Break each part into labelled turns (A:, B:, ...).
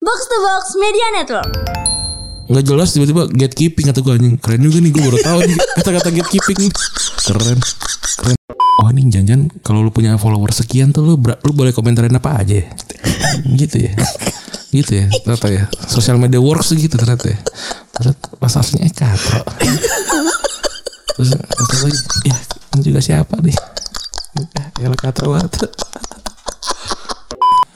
A: Box to Box Media Network.
B: nggak jelas tiba-tiba gatekeeping atau gue anjing keren juga nih gue baru tahu nih kata-kata gatekeeping nih keren keren oh ini jangan kalau lu punya follower sekian tuh lu ber- lu boleh komentarin apa aja ya? gitu ya gitu ya ternyata ya sosial media works tuh gitu ternyata ya ternyata pas aslinya eh, katro terus terus lagi ya ini juga siapa nih ya ya, katro banget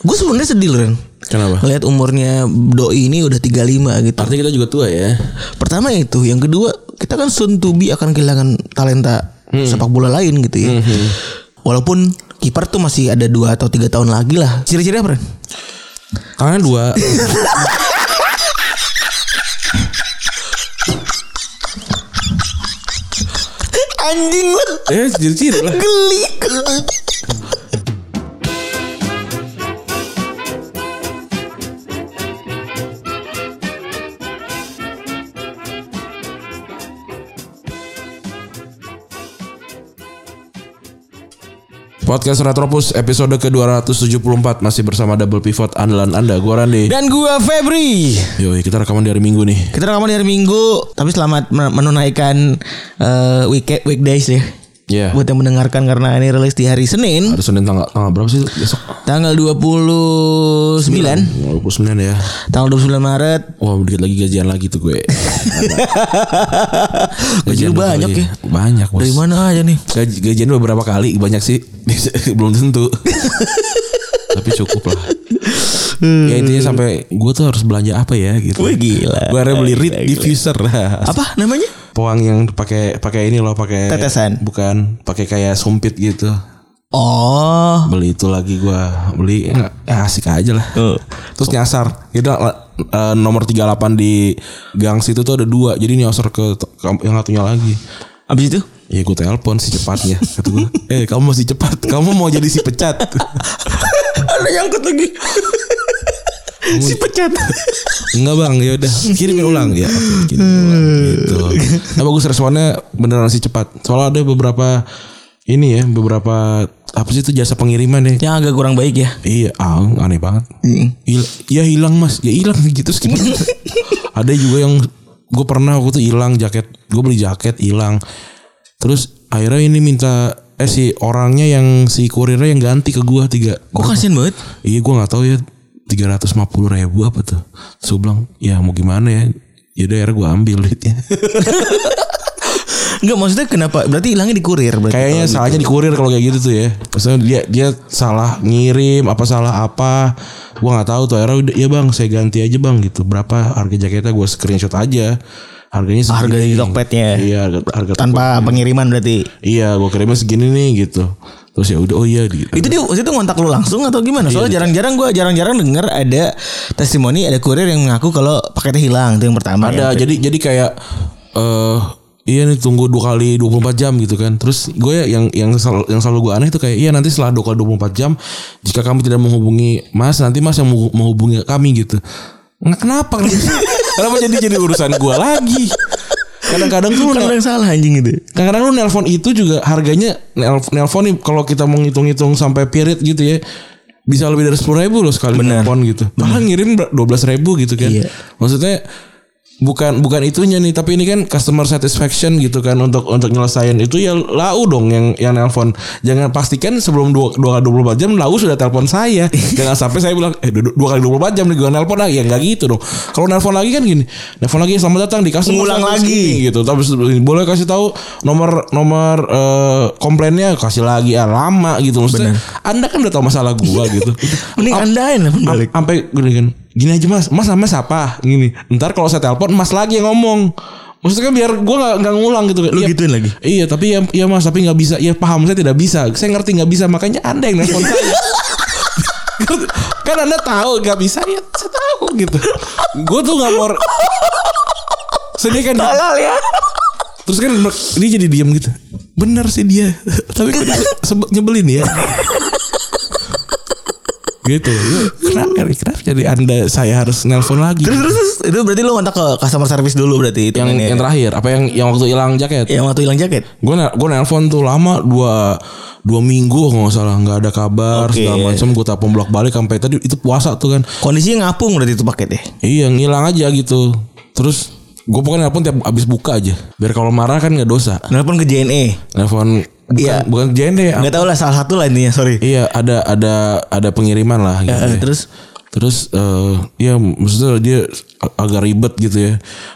C: Gue sebenarnya sedih loh Ren
B: kenapa
C: Ngeliat umurnya doi ini udah 35 gitu
B: artinya kita juga tua ya
C: Pertama itu Yang kedua Kita kan soon to be akan kehilangan talenta
B: Hmm.
C: sepak bola lain gitu ya Walaupun kiper tuh masih ada 2 atau 3 tahun lagi lah Ciri-ciri apa Ren?
B: Tangannya dua.
C: Anjing lu
B: eh, ciri-ciri lah.
C: geli
B: Podcast Retropus episode ke-274 masih bersama Double Pivot andalan Anda. Gua Randy.
C: Dan gua Febri
B: Yoi, kita rekaman di hari Minggu nih.
C: Kita rekaman di hari Minggu Tapi selamat men- menunaikan eh, weekend, Weekdays ya
B: Iya.
C: Buat yang mendengarkan karena ini rilis di hari Senin
B: Hari Senin tanggal, tanggal berapa sih besok?
C: Tanggal 29
B: Tanggal 29 ya.
C: Tanggal 29 Maret
B: Wah, dikit lagi gajian lagi tuh gue.
C: Gaji lu banyak
B: lagi.
C: ya
B: iya. Banyak, Bos.
C: Dari mana aja nih
B: Gaji, gajian beberapa kali banyak sih belum tentu tapi cukup lah ya intinya sampai gue tuh harus belanja apa ya gitu
C: Wih, gila.
B: gue akhirnya beli reed
C: Gila, gila.
B: diffuser
C: Apa namanya?
B: Poang yang pakai pakai ini loh pakai
C: Tetesan.
B: bukan pakai kayak sumpit gitu
C: Oh
B: beli itu lagi gua beli ya, ya asik aja lah terus nyasar itu eh, nomor 38 di gang situ tuh ada dua jadi nyasar ke, ke yang satunya lagi
C: Abis itu?
B: ya gue telepon si cepatnya kata gue eh kamu masih cepat kamu mau jadi si pecat
C: Ada nyangkut lagi Si pecat
B: enggak bang ya udah kirimin ulang ya oke, kirimin ulang gitu nah bagus responnya beneran si cepat soalnya ada beberapa ini ya beberapa apa sih itu jasa pengiriman ya
C: Yang agak kurang baik ya
B: Iya, ah, aneh banget. Hil- ya hilang mas, ya hilang gitu terus gimana? Ada juga yang gue pernah waktu itu hilang jaket, gue beli jaket hilang. Terus akhirnya ini minta eh si orangnya yang si kurirnya yang ganti ke gue tiga.
C: Kok kasihan banget
B: Iya gue nggak tahu ya tiga ratus lima puluh ribu apa tuh? Terus gue bilang ya mau gimana ya? Yaudah akhirnya gue ambil duitnya.
C: Enggak maksudnya kenapa Berarti hilangnya di kurir berarti
B: Kayaknya salahnya di kurir kalau kayak gitu tuh ya. Maksudnya dia dia salah ngirim apa salah apa. Gua nggak tahu tuh. Akhirnya udah ya Bang, saya ganti aja Bang gitu. Berapa harga jaketnya gua screenshot aja. Harganya segini.
C: Harga di Tokpednya.
B: Iya, harga, harga
C: Tanpa pengiriman berarti
B: Iya, gua kirimnya segini nih gitu. Terus ya udah oh iya gitu.
C: itu dia itu ngontak lu langsung atau gimana? Soalnya jarang-jarang gua jarang-jarang denger ada testimoni ada kurir yang mengaku kalau paketnya hilang itu yang pertama.
B: ada
C: Ya.
B: jadi jadi kayak eh iya nih tunggu dua kali 24 jam gitu kan terus gue yang yang selalu, yang selalu gue aneh itu kayak iya nanti setelah dua kali 24 jam jika kami tidak menghubungi mas nanti mas yang menghu- menghubungi kami gitu nggak kenapa kenapa jadi jadi urusan gue lagi kadang-kadang tuh lu
C: Kalau
B: nel-
C: yang salah anjing itu.
B: kadang-kadang lu nelpon itu juga harganya nelf- nelpon nih kalau kita mau ngitung-ngitung sampai period gitu ya bisa lebih dari sepuluh ribu loh sekali
C: Bener.
B: nelpon gitu. Malah ngirim dua belas ribu gitu kan.
C: Iya.
B: Maksudnya bukan bukan itunya nih tapi ini kan customer satisfaction gitu kan untuk untuk nyelesain itu ya lau dong yang yang nelpon jangan pastikan sebelum dua dua kali dua puluh jam lau sudah telepon saya jangan sampai saya bilang eh dua, dua kali dua puluh jam nih gue nelpon lagi ya nggak gitu dong kalau nelpon lagi kan gini nelpon lagi selamat datang di customer
C: Ngulang
B: service
C: lagi.
B: ini, gitu tapi boleh kasih tahu nomor nomor eh, komplainnya kasih lagi ah, lama gitu maksudnya anda kan udah tahu masalah gua gitu
C: Iya. Mending andain lah
B: Am-
C: balik.
B: sampai gini kan gini aja mas mas sama siapa gini ntar kalau saya telepon mas lagi yang ngomong maksudnya kan biar gua nggak nggak ngulang gitu
C: Lu
B: Iya,
C: gituin lagi?
B: iya tapi ya, ya mas tapi nggak bisa ya paham saya tidak bisa saya ngerti nggak bisa makanya anda yang nelfon saya kan anda tahu nggak bisa ya saya tahu gitu gue tuh nggak mau sedih kan
C: Halal ya.
B: Terus kan dia jadi diam gitu. Benar sih dia. Tapi kan sebe- nyebelin ya. gitu Ya, kenapa Erick? kenapa jadi anda saya harus nelpon lagi
C: Terus, terus, terus, itu berarti lo kontak ke customer service dulu berarti itu
B: yang
C: ini.
B: yang terakhir apa yang yang waktu hilang jaket
C: yang waktu hilang jaket.
B: gue gue nelpon tuh lama dua dua minggu kalau nggak salah nggak ada kabar
C: Oke.
B: segala macam gue telepon bolak balik sampai tadi itu puasa tuh kan
C: Kondisinya ngapung berarti itu paket ya.
B: iya ngilang aja gitu terus gue pokoknya nelpon tiap abis buka aja biar kalau marah kan nggak dosa
C: Nelpon ke JNE.
B: nelpon bukan
C: Iya.
B: bukan jende
C: Gak tau lah salah satu lah intinya sorry.
B: iya ada ada ada pengiriman lah gitu ya.
C: Eh, terus
B: Terus eh ya maksudnya dia ag- agak ribet gitu ya.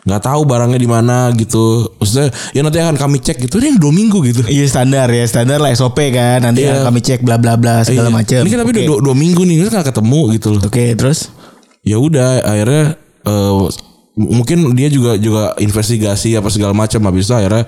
B: nggak tahu barangnya di mana gitu. Maksudnya ya nanti akan kami cek gitu. Ini dua minggu gitu.
C: Iya standar ya standar lah SOP kan nanti
B: Iya.
C: kami cek bla bla bla segala
B: Iya.
C: macam.
B: Ini kan tapi
C: Oke.
B: udah dua, dua minggu nih, terus nggak ketemu gitu loh.
C: Oke terus
B: Ya udah, akhirnya eh, m- mungkin dia juga juga investigasi apa segala macam habis itu akhirnya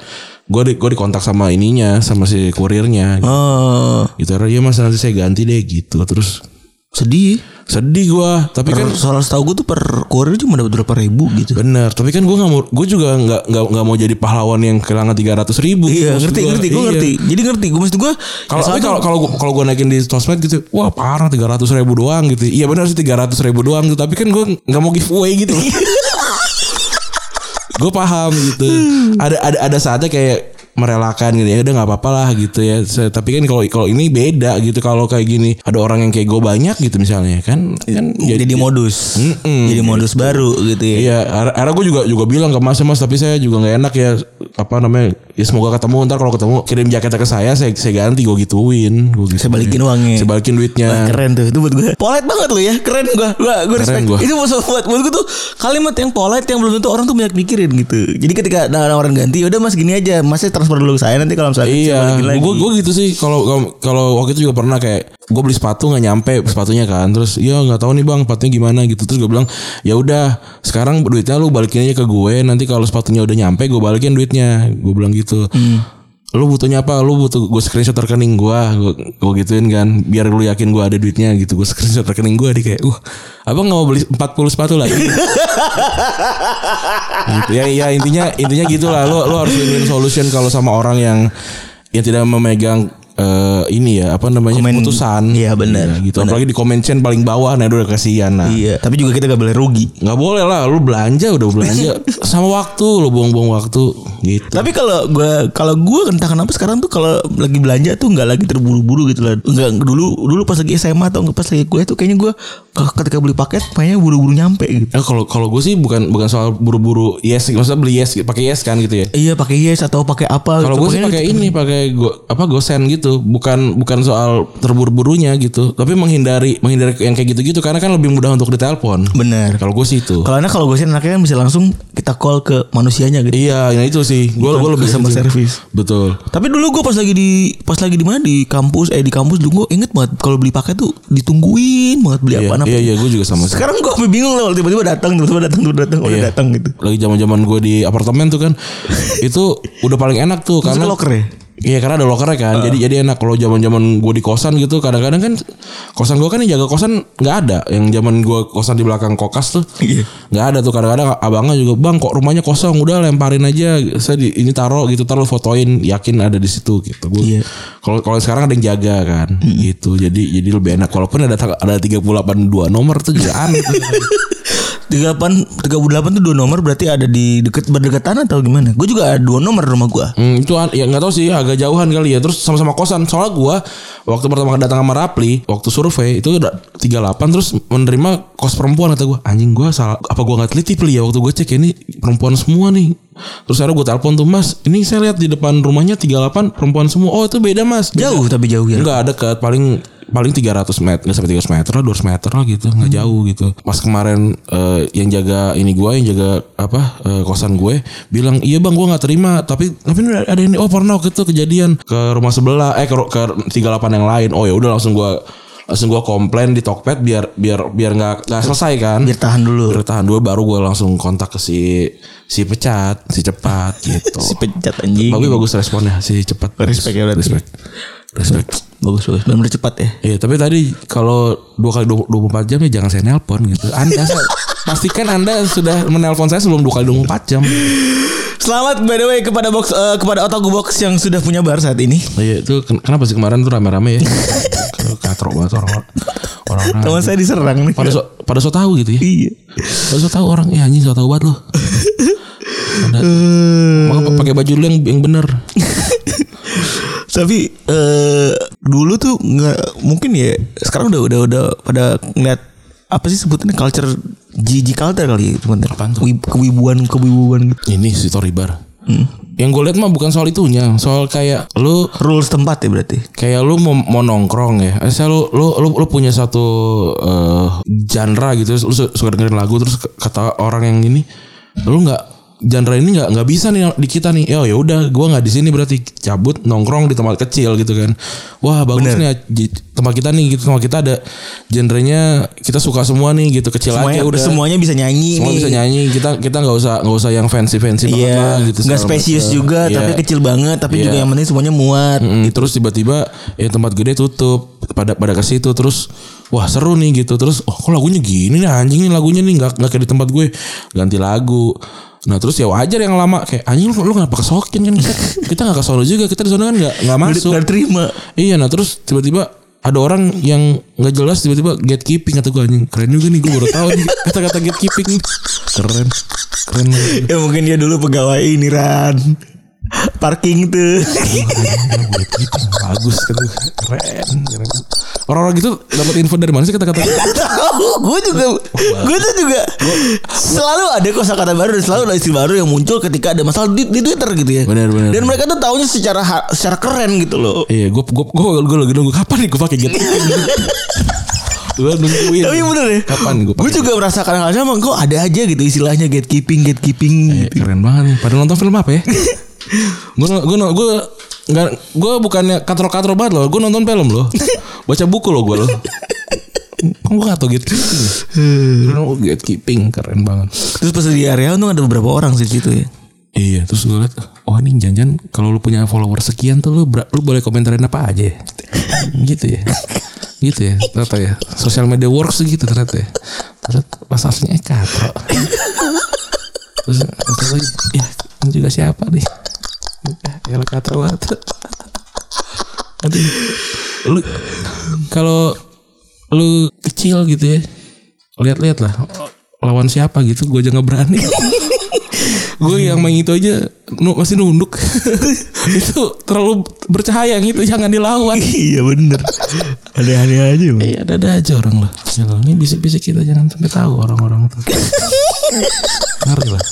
B: gue di, gua dikontak sama ininya sama si kurirnya gitu.
C: oh
B: Gitu akhirnya ya mas nanti saya ganti deh gitu terus
C: sedih.
B: sedih gua tapi kan
C: Per, soalnya setahu gue tuh per kurir cuma dapat berapa ribu gitu.
B: Bener, tapi kan gue nggak mau, gue juga nggak nggak nggak mau jadi pahlawan yang kehilangan tiga ratus ribu.
C: Iya ngerti ngerti gue ngerti. Jadi ngerti gue maksud ya gue
B: Kalau tapi kalau kalau gua- kalau gue naikin di sosmed gitu, wah parah tiga ratus ribu doang gitu. Iya benar sih tiga ratus ribu doang gitu, tapi kan gue nggak mau giveaway gitu. gue paham gitu. Ada ada ada saatnya kayak merelakan gitu ya udah nggak apa-apa lah gitu ya Saya- tapi kan kalau kalau ini beda gitu kalau kayak gini ada orang yang kayak gue banyak gitu misalnya kan kan
C: jadi, modus jadi modus baru gitu ya.
B: Iya, ar- akhirnya gue juga juga bilang ke Mas Mas, tapi saya juga nggak enak ya apa namanya? Ya semoga ketemu ntar kalau ketemu kirim jaketnya ke saya, saya saya ganti gue gituin, gue gitu.
C: Saya balikin uangnya.
B: Saya balikin duitnya.
C: Wah, keren tuh itu buat gue polite banget lu ya keren gue gue gue
B: Nah. Keren
C: respect
B: gua.
C: itu maksud buat buat gue tuh kalimat yang polite yang belum tentu orang tuh banyak mikirin gitu jadi ketika ada orang ganti udah mas gini aja masnya transfer dulu ke saya nanti kalau misalnya
B: Iya, gue gue gitu sih. Kalau kalau- kalau waktu itu juga pernah kayak gue beli sepatu nggak nyampe sepatunya kan. Terus ya nggak tahu nih bang sepatunya gimana gitu. Terus gue bilang ya udah sekarang duitnya lu balikin aja ke gue. Nanti kalau sepatunya udah nyampe gue balikin duitnya. Gue bilang gitu. Lu butuhnya apa? Lu butuh gue screenshot rekening gue. Gue gituin kan. Biar lu yakin gue ada duitnya gitu. Gue screenshot rekening gue di kayak, uh, abang nggak mau beli 40 sepatu lagi? gitu ya ya intinya intinya gitulah lo lo harus win-win solution kalau sama orang yang yang tidak memegang eh, ini ya apa namanya
C: Komen-
B: keputusan
C: Iya, benar.
B: Iya, gitu
C: Benar.
B: apalagi di comment chain paling bawah nah itu udah kasihan nah
C: iya tapi juga kita gak boleh rugi
B: nggak boleh lah lu belanja udah belanja sama waktu lu buang-buang waktu gitu
C: tapi kalau gue kalau gue entah kenapa sekarang tuh kalau lagi belanja tuh nggak lagi terburu-buru gitu lah nggak dulu dulu pas lagi SMA atau nggak pas lagi gue tuh kayaknya gue ke- ketika beli paket kayaknya buru-buru nyampe gitu
B: Ya, kalau kalau gue sih bukan bukan soal buru-buru yes maksudnya beli yes pakai yes kan gitu ya
C: iya pakai yes atau pakai apa
B: Kalau gue
C: gitu.
B: sih
C: Pokoknya
B: pakai ini, pakai go, apa gosen gitu, bukan bukan soal terburu-burunya gitu, tapi menghindari menghindari yang kayak gitu-gitu karena kan lebih mudah untuk ditelepon.
C: bener
B: Nah, Kalau gue sih itu.
C: Kalau enak kalau gue sih enaknya kan bisa langsung kita call ke manusianya gitu.
B: Iya, yang itu sih. Gue
C: Bukan
B: gue lebih
C: customer
B: gitu.
C: service.
B: Betul.
C: Tapi dulu gue pas lagi di pas lagi di mana di kampus eh di kampus dulu gue inget banget kalau beli paket tuh ditungguin banget beli
B: Iya,
C: apa Ya, apa.
B: iya, iya, gue juga sama sih.
C: Sekarang gue bingung loh tiba-tiba datang tiba-tiba datang tiba-tiba datang udah
B: Iya.
C: datang gitu.
B: Lagi zaman-zaman gue di apartemen tuh kan, itu udah paling enak tuh
C: Karena
B: karena
C: locker ya. Ah.
B: Iya karena ada lokernya kan. Jadi jadi enak kalau zaman-zaman gue di kosan gitu kadang-kadang kan kosan gue kan yang jaga kosan nggak ada. Yang zaman gue kosan di belakang kokas tuh.
C: Iya.
B: nggak ada tuh kadang-kadang abangnya juga bang kok rumahnya kosong udah lemparin aja saya di, ini taruh gitu taruh fotoin yakin ada di situ gitu gue
C: Iya.
B: kalau kalau sekarang ada yang jaga kan gitu jadi jadi lebih enak walaupun ada tang- ada tiga nomor tuh juga aneh tuh.
C: 38 38 tuh dua nomor berarti ada di deket berdekatan atau gimana? Gue juga ada dua nomor rumah gue.
B: Hmm, itu an- ya nggak tahu sih agak jauhan kali ya terus sama-sama kosan soalnya gua waktu pertama datang sama Rapli waktu survei itu udah 38 terus menerima kos perempuan kata gua anjing gua salah apa gua nggak teliti Pli ya waktu gue cek ini perempuan semua nih terus akhirnya gua telepon tuh mas ini saya lihat di depan rumahnya 38 perempuan semua oh itu beda mas
C: Jauh tapi jauh ya.
B: Enggak dekat paling paling 300 meter nggak sampai 300 meter lah 200 meter lah gitu nggak
C: Hmm.
B: jauh gitu pas kemarin eh, yang jaga ini gua yang jaga apa eh, kosan gue bilang iya bang gua nggak terima tapi tapi ini ada ini oh pernah waktu itu kejadian ke rumah sebelah eh ke, ru- ke 38 yang lain oh ya udah langsung gua langsung gua komplain di Tokped biar biar biar nggak nggak selesai kan
C: Biar tahan dulu.
B: Biar tahan dulu baru gua langsung kontak ke si si pecat si cepat gitu
C: Si pecat anjing.
B: Bagus bagus responnya si cepat.
C: Respect ya berarti.
B: Respect. Respect.
C: Bagus bagus. Benar cepat ya.
B: Iya tapi tadi kalau dua kali dua puluh empat jam ya jangan saya nelpon gitu. Anda saya- pastikan anda sudah menelpon saya sebelum dua kali dua puluh empat jam.
C: Selamat by the way kepada box eh, kepada Otaku Box yang sudah punya bar saat ini.
B: Iya itu ken- kenapa sih kemarin tuh rame-rame ya? katro banget orang orang orang
C: Teman saya diserang nih.
B: Hmm. pada so pada so tahu gitu ya
C: Iya.
B: pada so tahu orang ya anjing so tahu banget lo
C: Eh,
B: Maka pakai baju lu yang yang bener
C: Tapi eh dulu tuh nggak mungkin ya. Sekarang udah udah udah pada ngeliat apa sih sebutannya culture GG culture kali ya teman-teman.
B: Apaan tuh?
C: Wib- Kewibuan kewibuan gitu. Hmm.
B: ini si Tory Bar yang gue lihat mah bukan soal itunya soal kayak lu
C: Rules tempat ya berarti.
B: kayak lu mau, mau nongkrong ya saya lu, lu lu lu punya satu eh, genre gitu terus lu su- suka dengerin lagu terus k- kata orang yang ini lu nggak genre ini nggak nggak bisa nih di kita nih ya ya udah gua nggak di sini berarti cabut nongkrong di tempat kecil gitu kan wah bagus nih j- tempat kita nih gitu tempat kita ada genrenya kita suka semua nih gitu kecil
C: Semuanya
B: aja
C: udah
B: udah
C: semuanya bisa nyanyi
B: semua
C: nih.
B: bisa nyanyi kita kita nggak usah nggak usah yang fancy fancy banget lah
C: Iya,
B: gitu
C: nggak
B: segala
C: spesies
B: macam.
C: juga,
B: Iya.
C: tapi kecil banget, tapi
B: Iya.
C: juga yang penting semuanya muat.
B: Mm, terus tiba-tiba ya tempat gede tutup pada pada ke situ terus wah seru nih gitu terus oh kok lagunya gini nih anjing nih lagunya nih nggak nggak kayak di tempat gue ganti lagu nah terus ya wajar yang lama kayak anjing lu, lu kenapa kesokin kan kita kita nggak kesono juga kita di sana kan nggak nggak masuk
C: Nggak terima.
B: iya nah terus tiba-tiba ada orang yang nggak jelas tiba-tiba gatekeeping kata gue anjing keren juga nih gue baru tahu nih kata-kata gatekeeping keren keren banget.
C: Ya mungkin dia dulu pegawai ini Ran Parking tuh
B: Gatekeeping, bagus kan keren, keren. orang-orang gitu dapat info dari mana sih kata-kata
C: Gue juga Gue tuh juga Selalu ada kosakata baru Dan selalu ada istilah baru yang muncul ketika ada masalah di, di Twitter gitu ya
B: Benar, benar.
C: Dan mereka tuh taunya secara ha- secara keren gitu loh
B: Iya, gue gue gue gue lagi nunggu kapan nih gue pakai gitu. gue nungguin.
C: Tapi bener ya
B: Kapan gitu? gue
C: Gue juga merasakan hal sama Kok ada aja gitu istilahnya gatekeeping Gatekeeping gitu
B: Eh, keren banget nih. Pada nonton film apa ya? gue gue gue nggak gue bukannya katro-katro banget loh. Gue nonton film loh. Baca buku loh gue loh. Kok gue gak tau gatekeeping? Keren, gatekeeping keren banget.
C: Terus pas di area tuh ada beberapa orang sih situ ya
B: Iya, terus gue liat, oh ini jangan kalau lu punya follower sekian tuh lu, ber- lu boleh komentarin apa aja. ya. gitu ya. Gitu ya, ternyata ya. Social media works tuh gitu ternyata ya. Ternyata pas aslinya eh, katro. terus terus lagi, ya ini juga siapa nih? Ya lu katro banget. Aduh. Lu kalau lu kecil gitu ya. Lihat-lihat lah lawan siapa gitu, gue aja nggak berani gue yang main itu aja nu- masih nunduk itu terlalu bercahaya yang itu jangan dilawan
C: Iya bener Aneh-aneh aja Bang.
B: iya ada ada aja orang lah Ya Allah, ini bisik-bisik kita jangan sampai tahu orang-orang itu ngerti lah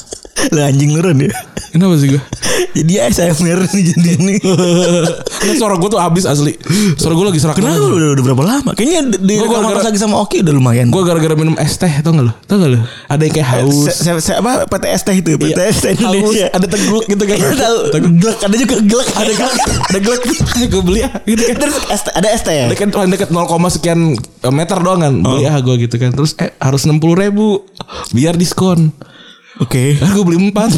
C: Lah anjing lu Ran ya
B: kenapa sih gue
C: Jadi ASMR nih jadi ini
B: Ini suara gue tuh abis asli suara gue lagi serak
C: Kenapa
B: banget.
C: udah, udah berapa lama? Kayaknya di- di
B: Gua
C: rekam
B: gara-gara-
C: pas lagi sama Oki udah lumayan.
B: gue gara-gara minum es teh tau gak lo tau gak lo ada yang kayak haus
C: Eh, Se- se- se- apa PTS teh itu PTS teh
B: Haus,
C: Indonesia
B: ada teguk gitu kan
C: Iya, tahu gelek ada juga gelek ada gelek
B: ada gelek gue beli ah gitu kan
C: terus ST ada ST ya
B: dekat paling dekat 0, sekian eh, meter doang kan beli
C: Oh.
B: ah gue gitu kan terus eh harus enam puluh ribu biar diskon
C: oke
B: Lah gue beli empat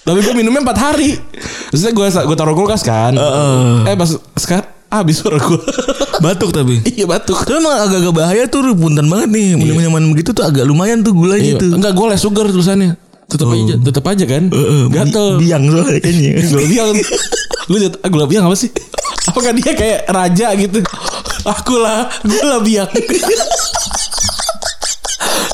B: Tapi gue minumnya empat hari eh, Terusnya gue gue taruh kulkas kan Eh pas sekarang Habis suara gue
C: batuk tapi
B: Iya batuk
C: tapi emang agak-agak bahaya tuh punten banget nih minum minuman begitu tuh agak lumayan tuh gulanya
B: Iya,
C: tuh
B: Enggak gue les sugar tulisannya Tetep
C: Oh.
B: aja Tetep aja kan Gatel
C: Bi- biang soalnya kayaknya
B: Gula biang Lu jat Gula biang apa sih Apakah dia kayak raja gitu Aku lah Gula biang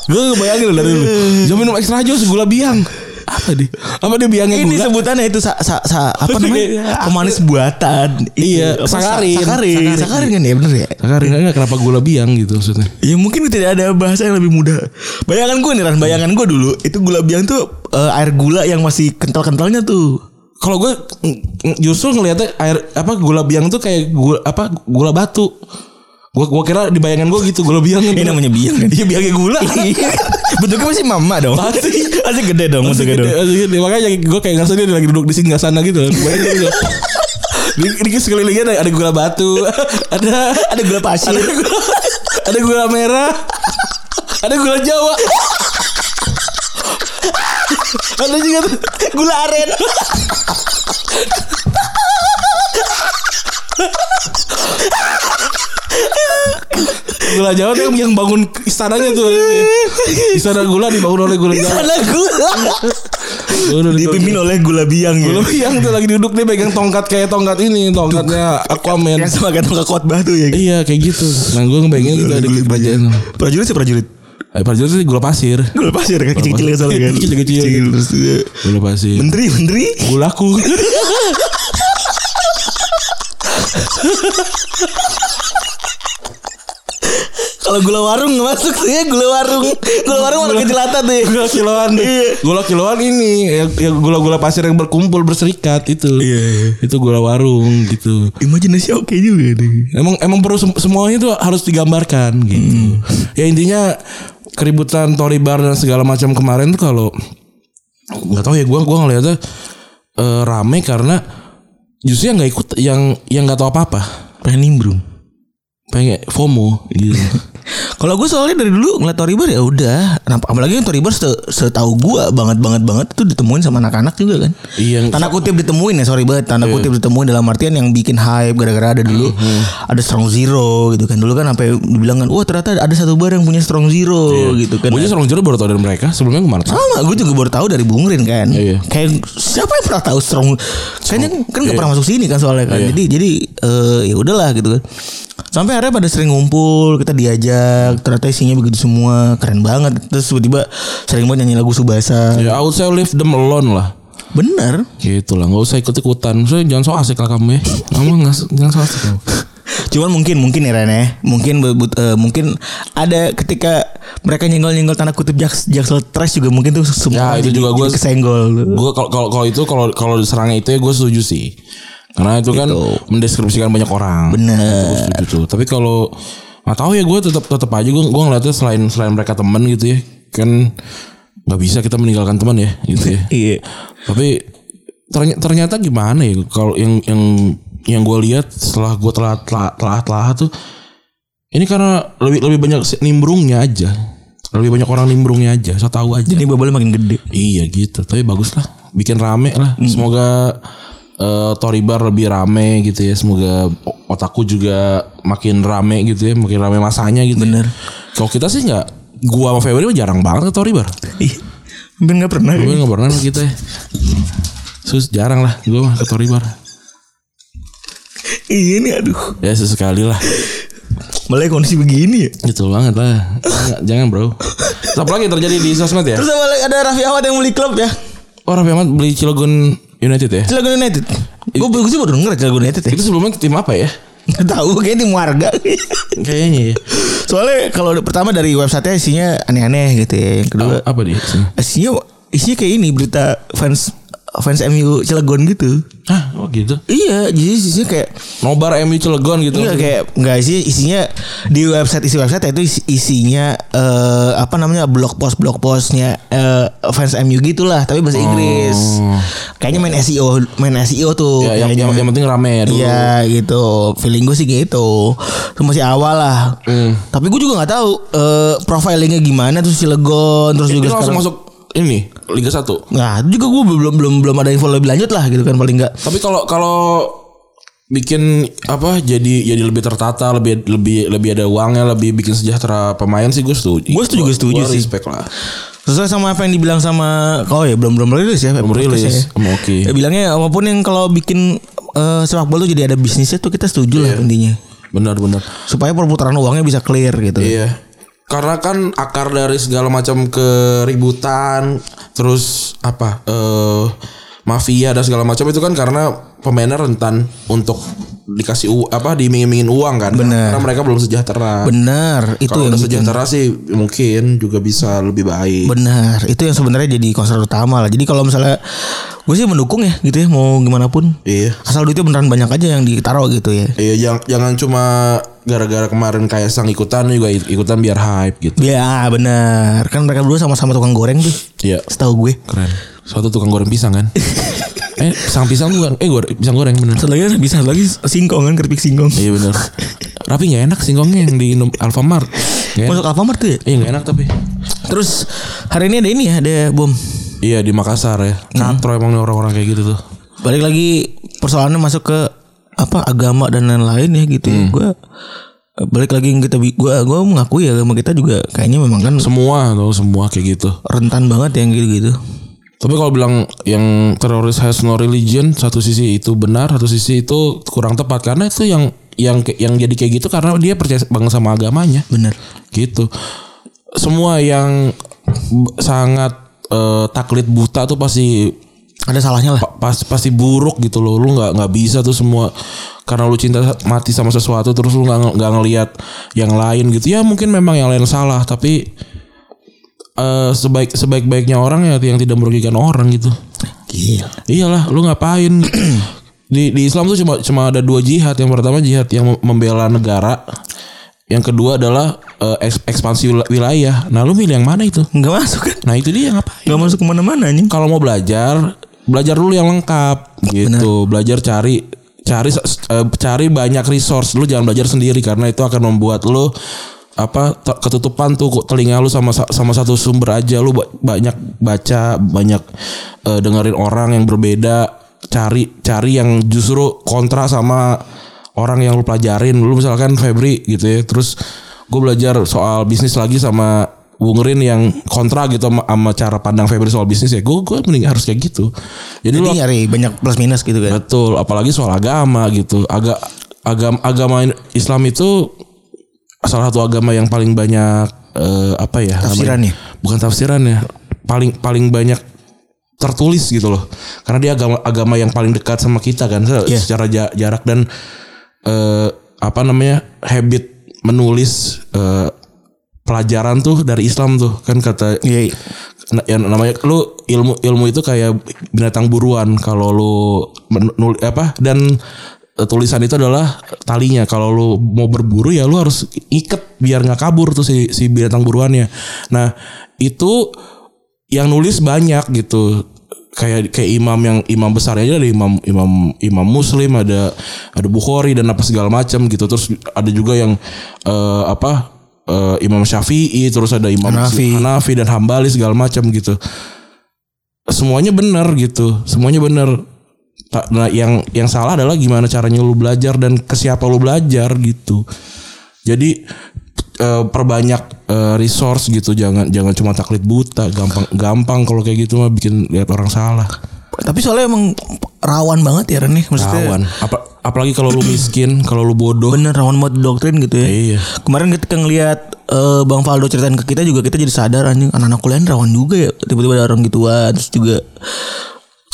B: Gue bayangin loh dari dulu Jangan minum extra jus Gula biang Apa deh Apa dia biangnya
C: ini
B: gula
C: sebutannya itu sa, sa, sa- apa namanya
B: Iya.
C: pemanis buatan
B: Iya,
C: Apa, sa-
B: sakarin.
C: sakarin
B: Sakarin.
C: sakarin kan ya bener ya
B: Kakak enggak kenapa gula biang gitu maksudnya.
C: Ya mungkin tidak ada bahasa yang lebih mudah. Bayangan gue nih Ran, bayangan gue dulu itu gula biang tuh eh, air gula yang masih kental-kentalnya tuh.
B: Kalau gue mm, mm, justru ngelihatnya air apa gula biang tuh kayak gula apa gula batu. Gue gua kira di bayangan gue gitu gula biang.
C: Ini namanya biang kan.
B: Iya biangnya gula.
C: Iya. Bentuknya masih mama dong.
B: Pasti.
C: Masih gede dong,
B: Masih
C: masih gede dong.
B: gede, masih gede. Makanya gue kayak ngerasa dia lagi duduk di singgah sana gitu. Bayangin gitu. Di, di sekelilingnya ada, ada gula batu, ada
C: Ada gula pasir.
B: ada gula, ada gula merah, ada gula Jawa,
C: Ada juga tuh gula aren.
B: gula Jawa tuh yang bangun istananya tuh, istana gula dibangun oleh gula Jawa.
C: Ada gula. Dipimpin oleh gula biang ya.
B: Belum yang tuh lagi duduk dia pegang tongkat kayak tongkat ini, tongkatnya Aquaman.
C: Yang sama kantong khotbah tuh ya.
B: iya kayak gitu. Nah gue ngebayangin gitu ada di kerajaan.
C: Prajurit sih prajurit.
B: Eh, Prajurit itu gula pasir.
C: Gula pasir kan kecil-kecil kan soalnya kan.
B: Kecil-kecil.
C: Terus dia,
B: Gula pasir.
C: Menteri, menteri.
B: Gulaku.
C: Kalau gula warung nggak masuk tuh ya gula warung. Gula warung warna kejelata tuh. ya.
B: gula kiloan
C: Iya.
B: deh. Gula kiloan ini yang yang gula-gula pasir yang berkumpul berserikat itu.
C: Iya, iya.
B: Itu gula warung gitu.
C: Imajinasi oke juga ya, deh.
B: Emang emang perlu sem- semuanya itu harus digambarkan gitu. Ya intinya keributan Tory Bar dan segala macam kemarin tuh kalau nggak tahu ya gua gua ngeliatnya eh, rame karena justru yang nggak ikut yang yang nggak tahu apa-apa
C: Pengen nimbrung.
B: pengen FOMO gitu.
C: Kalau gue soalnya dari dulu ngeliat Toribar ya udah. Nampak- Apalagi yang Toribar setahu setahu gue banget banget banget itu ditemuin sama anak-anak juga kan.
B: Iya, yang-
C: Tanda kutip ditemuin ya sorry banget. Tanda kutip ditemuin dalam artian yang bikin hype gara-gara ada dulu ada Strong Zero gitu kan. Dulu kan sampai dibilang kan, wah ternyata ada satu bar yang punya Strong Zero gitu kan.
B: Gue aja Strong Zero baru tau dari mereka sebelumnya kemana? tuh?
C: Sama gue juga baru tahu dari Bung Rin kan.
B: Iya.
C: Kayak siapa yang pernah tahu strong? Kayaknya kan gak pernah masuk sini kan
B: Iya.
C: soalnya kan. Jadi jadi eh, ya udahlah gitu kan. Sampai akhirnya pada sering ngumpul, kita diajak, ternyata isinya begitu semua, keren banget. Terus tiba-tiba sering banget nyanyi lagu Subasa.
B: Ya I would say leave them alone lah.
C: Bener.
B: Gitu lah, nggak usah ikut ikutan. Maksudnya jangan so asik lah kamu ya. Kamu nggak jangan so asik. kamu.
C: Cuman mungkin mungkin ya Ren ya. Mungkin bebut- eh, mungkin ada ketika mereka nyenggol-nyenggol tanda kutip jaks, jaksel trash juga mungkin tuh semua
B: Ya, itu
C: jadi-
B: juga
C: jadi
B: gua-
C: kesenggol.
B: Gue kalau kalau kalau itu kalau kalau diserangnya itu ya gue setuju sih. Karena itu kan mendeskripsikan banyak orang.
C: Bener.
B: Gue setuju tuh. Tapi kalau nggak tahu ya gue tetap tetap aja gue gue ngeliatnya selain selain mereka teman gitu ya kan nggak bisa kita meninggalkan teman ya gitu ya.
C: Iya.
B: Tapi terny- ternyata gimana ya kalau yang yang yang gue lihat setelah gue telah telah telah telah tuh ini karena lebih lebih banyak si- nimbrungnya aja lebih banyak orang nimbrungnya aja saya tahu aja
C: Jadi bubble makin gede.
B: iya gitu tapi bagus lah bikin rame lah semoga eh, Toribar lebih rame gitu ya semoga o- otakku juga makin rame gitu ya makin rame masanya gitu ya.
C: Bener.
B: kalau kita sih nggak gua sama Febri mah jarang banget ke Toribar
C: Iya. Hampir nggak pernah.
B: Gue nggak pernah sama kita ya. Sus jarang lah gue mah ke Tory Bar.
C: Iya nih aduh.
B: Ya sesekali lah.
C: Mulai kondisi begini ya.
B: Gitu banget lah. Jangan, jangan bro. Apa lagi yang terjadi di sosmed ya?
C: Terus apa lagi? ada Raffi Ahmad yang beli klub ya.
B: Oh Raffi Ahmad beli Cilegon United ya?
C: Cilegon United. Gue gue sih baru denger Cilegon United ya.
B: Itu sebelumnya tim apa ya?
C: Gak tahu kayaknya tim warga.
B: Kayaknya ya.
C: Soalnya kalau ada- pertama dari websitenya isinya aneh-aneh gitu ya. Yang kedua
B: Apa, apa dia? isinya?
C: isinya isinya kayak ini berita fans fans MU Cilegon gitu.
B: Hah? Oh gitu.
C: Iya, jadi isinya kayak
B: Nobar MU Cilegon gitu.
C: Enggak Iya, kayak enggak sih isinya di website isi website itu isi- isinya eh, apa namanya blog post blog postnya eh, fans MU gitulah tapi bahasa
B: Oh.
C: Inggris kayaknya main SEO main SEO tuh
B: Ya, yang,
C: kayaknya.
B: yang, yang penting rame ya dulu.
C: gitu. Iya gitu Feeling gue sih gitu Itu masih awal lah
B: Hmm.
C: Tapi gue juga gak tahu eh, Profilingnya gimana Terus Cilegon Terus
B: Itu
C: juga
B: langsung
C: sekarang
B: masuk ini Liga 1.
C: Nah itu juga gue belum belum belum ada info lebih lanjut lah gitu kan Paling gak
B: Tapi kalau kalau bikin apa jadi jadi lebih tertata lebih lebih lebih ada uangnya lebih bikin sejahtera pemain sih gue setuju
C: Gua setuju- setuju
B: Gua
C: sih.
B: respect lah
C: Sesuai sama apa yang dibilang sama Oh ya belum belum rilis ya
B: Belum rilis.
C: podcastnya ya.
B: Hmm, oke.
C: Ya, Bilangnya apapun yang kalau bikin eh, sepak bola tuh jadi ada bisnisnya tuh kita
B: Iya.
C: setuju lah intinya
B: benar benar
C: Supaya perputaran uangnya bisa clear gitu
B: iya karena kan akar dari segala macam keributan terus apa eh mafia dan segala macam itu kan karena pemainnya rentan untuk dikasih u- apa diiming-imingin uang kan
C: Benar.
B: karena mereka belum sejahtera
C: Benar itu
B: kalau
C: yang
B: udah
C: bikin.
B: sejahtera sih mungkin juga bisa lebih baik
C: Benar, itu yang sebenarnya jadi concern utama lah. Jadi kalau misalnya gue sih mendukung ya gitu ya mau gimana pun.
B: iya
C: Asal duitnya beneran banyak aja yang ditaruh gitu ya.
B: Iya jangan, jangan cuma gara-gara kemarin kayak sang ikutan juga ik- ikutan biar hype gitu.
C: Ya benar, kan mereka berdua sama-sama tukang goreng tuh.
B: Iya.
C: Setahu gue.
B: Keren. Suatu tukang goreng pisang kan? eh, sang pisang bukan? Eh, goreng, pisang goreng bener.
C: Satu lagi bisa lagi singkong kan keripik singkong.
B: Iya bener. Tapi nggak enak singkongnya yang di Indo- Alfamart. Nggak enak.
C: Masuk Alfamart tuh ya?
B: Iya nggak enak tapi.
C: Terus hari ini ada ini ya, ada bom.
B: Iya di Makassar ya. Katro emang nih orang-orang kayak gitu tuh.
C: Balik lagi persoalannya masuk ke apa agama dan lain-lain ya gitu ya. Gue balik lagi yang kita bi- gua gua mengakui ya agama kita juga kayaknya memang kan
B: Semua tuh semua kayak gitu.
C: rentan banget yang gitu-gitu.
B: Tapi kalau bilang yang teroris has no religion, satu sisi itu benar, satu sisi itu kurang tepat karena itu yang yang yang jadi kayak gitu karena dia percaya banget sama agamanya.
C: Bener.
B: Gitu. Semua yang b- sangat eh, taklid buta tuh pasti
C: Ada salahnya lah.
B: pa- pas- pasti buruk gitu loh. Lu nggak nggak bisa tuh semua karena lu cinta mati sama sesuatu terus lu nggak nggak ngelihat yang lain gitu. Ya mungkin memang yang lain salah tapi eh sebaik sebaik-baiknya orang ya yang tidak merugikan orang gitu.
C: Gila.
B: Iyalah, lu ngapain? di di Islam tuh cuma cuma ada dua jihad. Yang pertama jihad yang mem- membela negara. Yang kedua adalah eh, eks- ekspansi wil- wilayah. Nah, lu milih yang mana itu?
C: Nggak masuk kan?
B: Nah, itu dia ngapain?
C: Nggak masuk kemana-mana anjing.
B: Kalau mau belajar, belajar dulu yang lengkap gitu. Belajar cari cari s- eh, cari banyak resource. Lu jangan belajar sendiri karena itu akan membuat lu apa te- ketutupan tuh kok telinga lu sama sa- sama satu sumber aja lu ba- banyak baca banyak eh, dengerin orang yang berbeda cari cari yang justru kontra sama orang yang lu pelajarin lu misalkan Febri gitu ya terus gue belajar soal bisnis lagi sama Bung Rin yang kontra gitu sama, sama cara pandang Febri soal bisnis ya gue gue mending harus kayak gitu jadi, lu
C: Jadi nyari Iya, banyak plus minus gitu kan.
B: betul apalagi soal agama gitu agak agam agama Islam itu salah satu agama yang paling banyak eh, apa ya namanya?
C: Tafsirannya.
B: bukan tafsirannya paling paling banyak tertulis gitu loh karena dia agama agama yang paling dekat sama kita kan se-
C: Iya.
B: secara ja- jarak dan eh, apa namanya habit menulis eh, pelajaran tuh dari Islam tuh kan kata
C: Iya. iya.
B: Na- yang Nah, ya, namanya lu ilmu ilmu itu kayak binatang buruan kalau lu menul apa dan eh, tulisan itu adalah talinya kalau lu mau berburu ya lu harus iket biar nggak kabur tuh si si binatang buruannya nah itu yang nulis banyak gitu kayak kayak imam yang imam besar aja ada imam imam imam muslim ada ada bukhari dan apa segala macam gitu terus ada juga yang eh, apa eh, imam syafi'i terus ada imam
C: Hanafi.
B: Hanafi dan hambali segala macam gitu semuanya benar gitu semuanya benar Ta- nah yang yang salah adalah gimana caranya lu belajar dan ke siapa lu belajar gitu jadi eh, perbanyak eh, resource gitu jangan jangan cuma taklid buta gampang gampang kalau kayak gitu mah bikin lihat orang salah
C: Tapi soalnya emang rawan banget ya Ren nih maksudnya.
B: kawan Apa- apalagi kalau lu miskin kalau lu bodoh
C: Bener rawan banget doktrin gitu ya.
B: Iya.
C: Kemarin ketika ngelihat eh, Bang Faldo ceritain ke kita juga kita jadi sadar anjing anak-anak kuliah ini rawan juga ya. Tiba-tiba ada orang gituan terus juga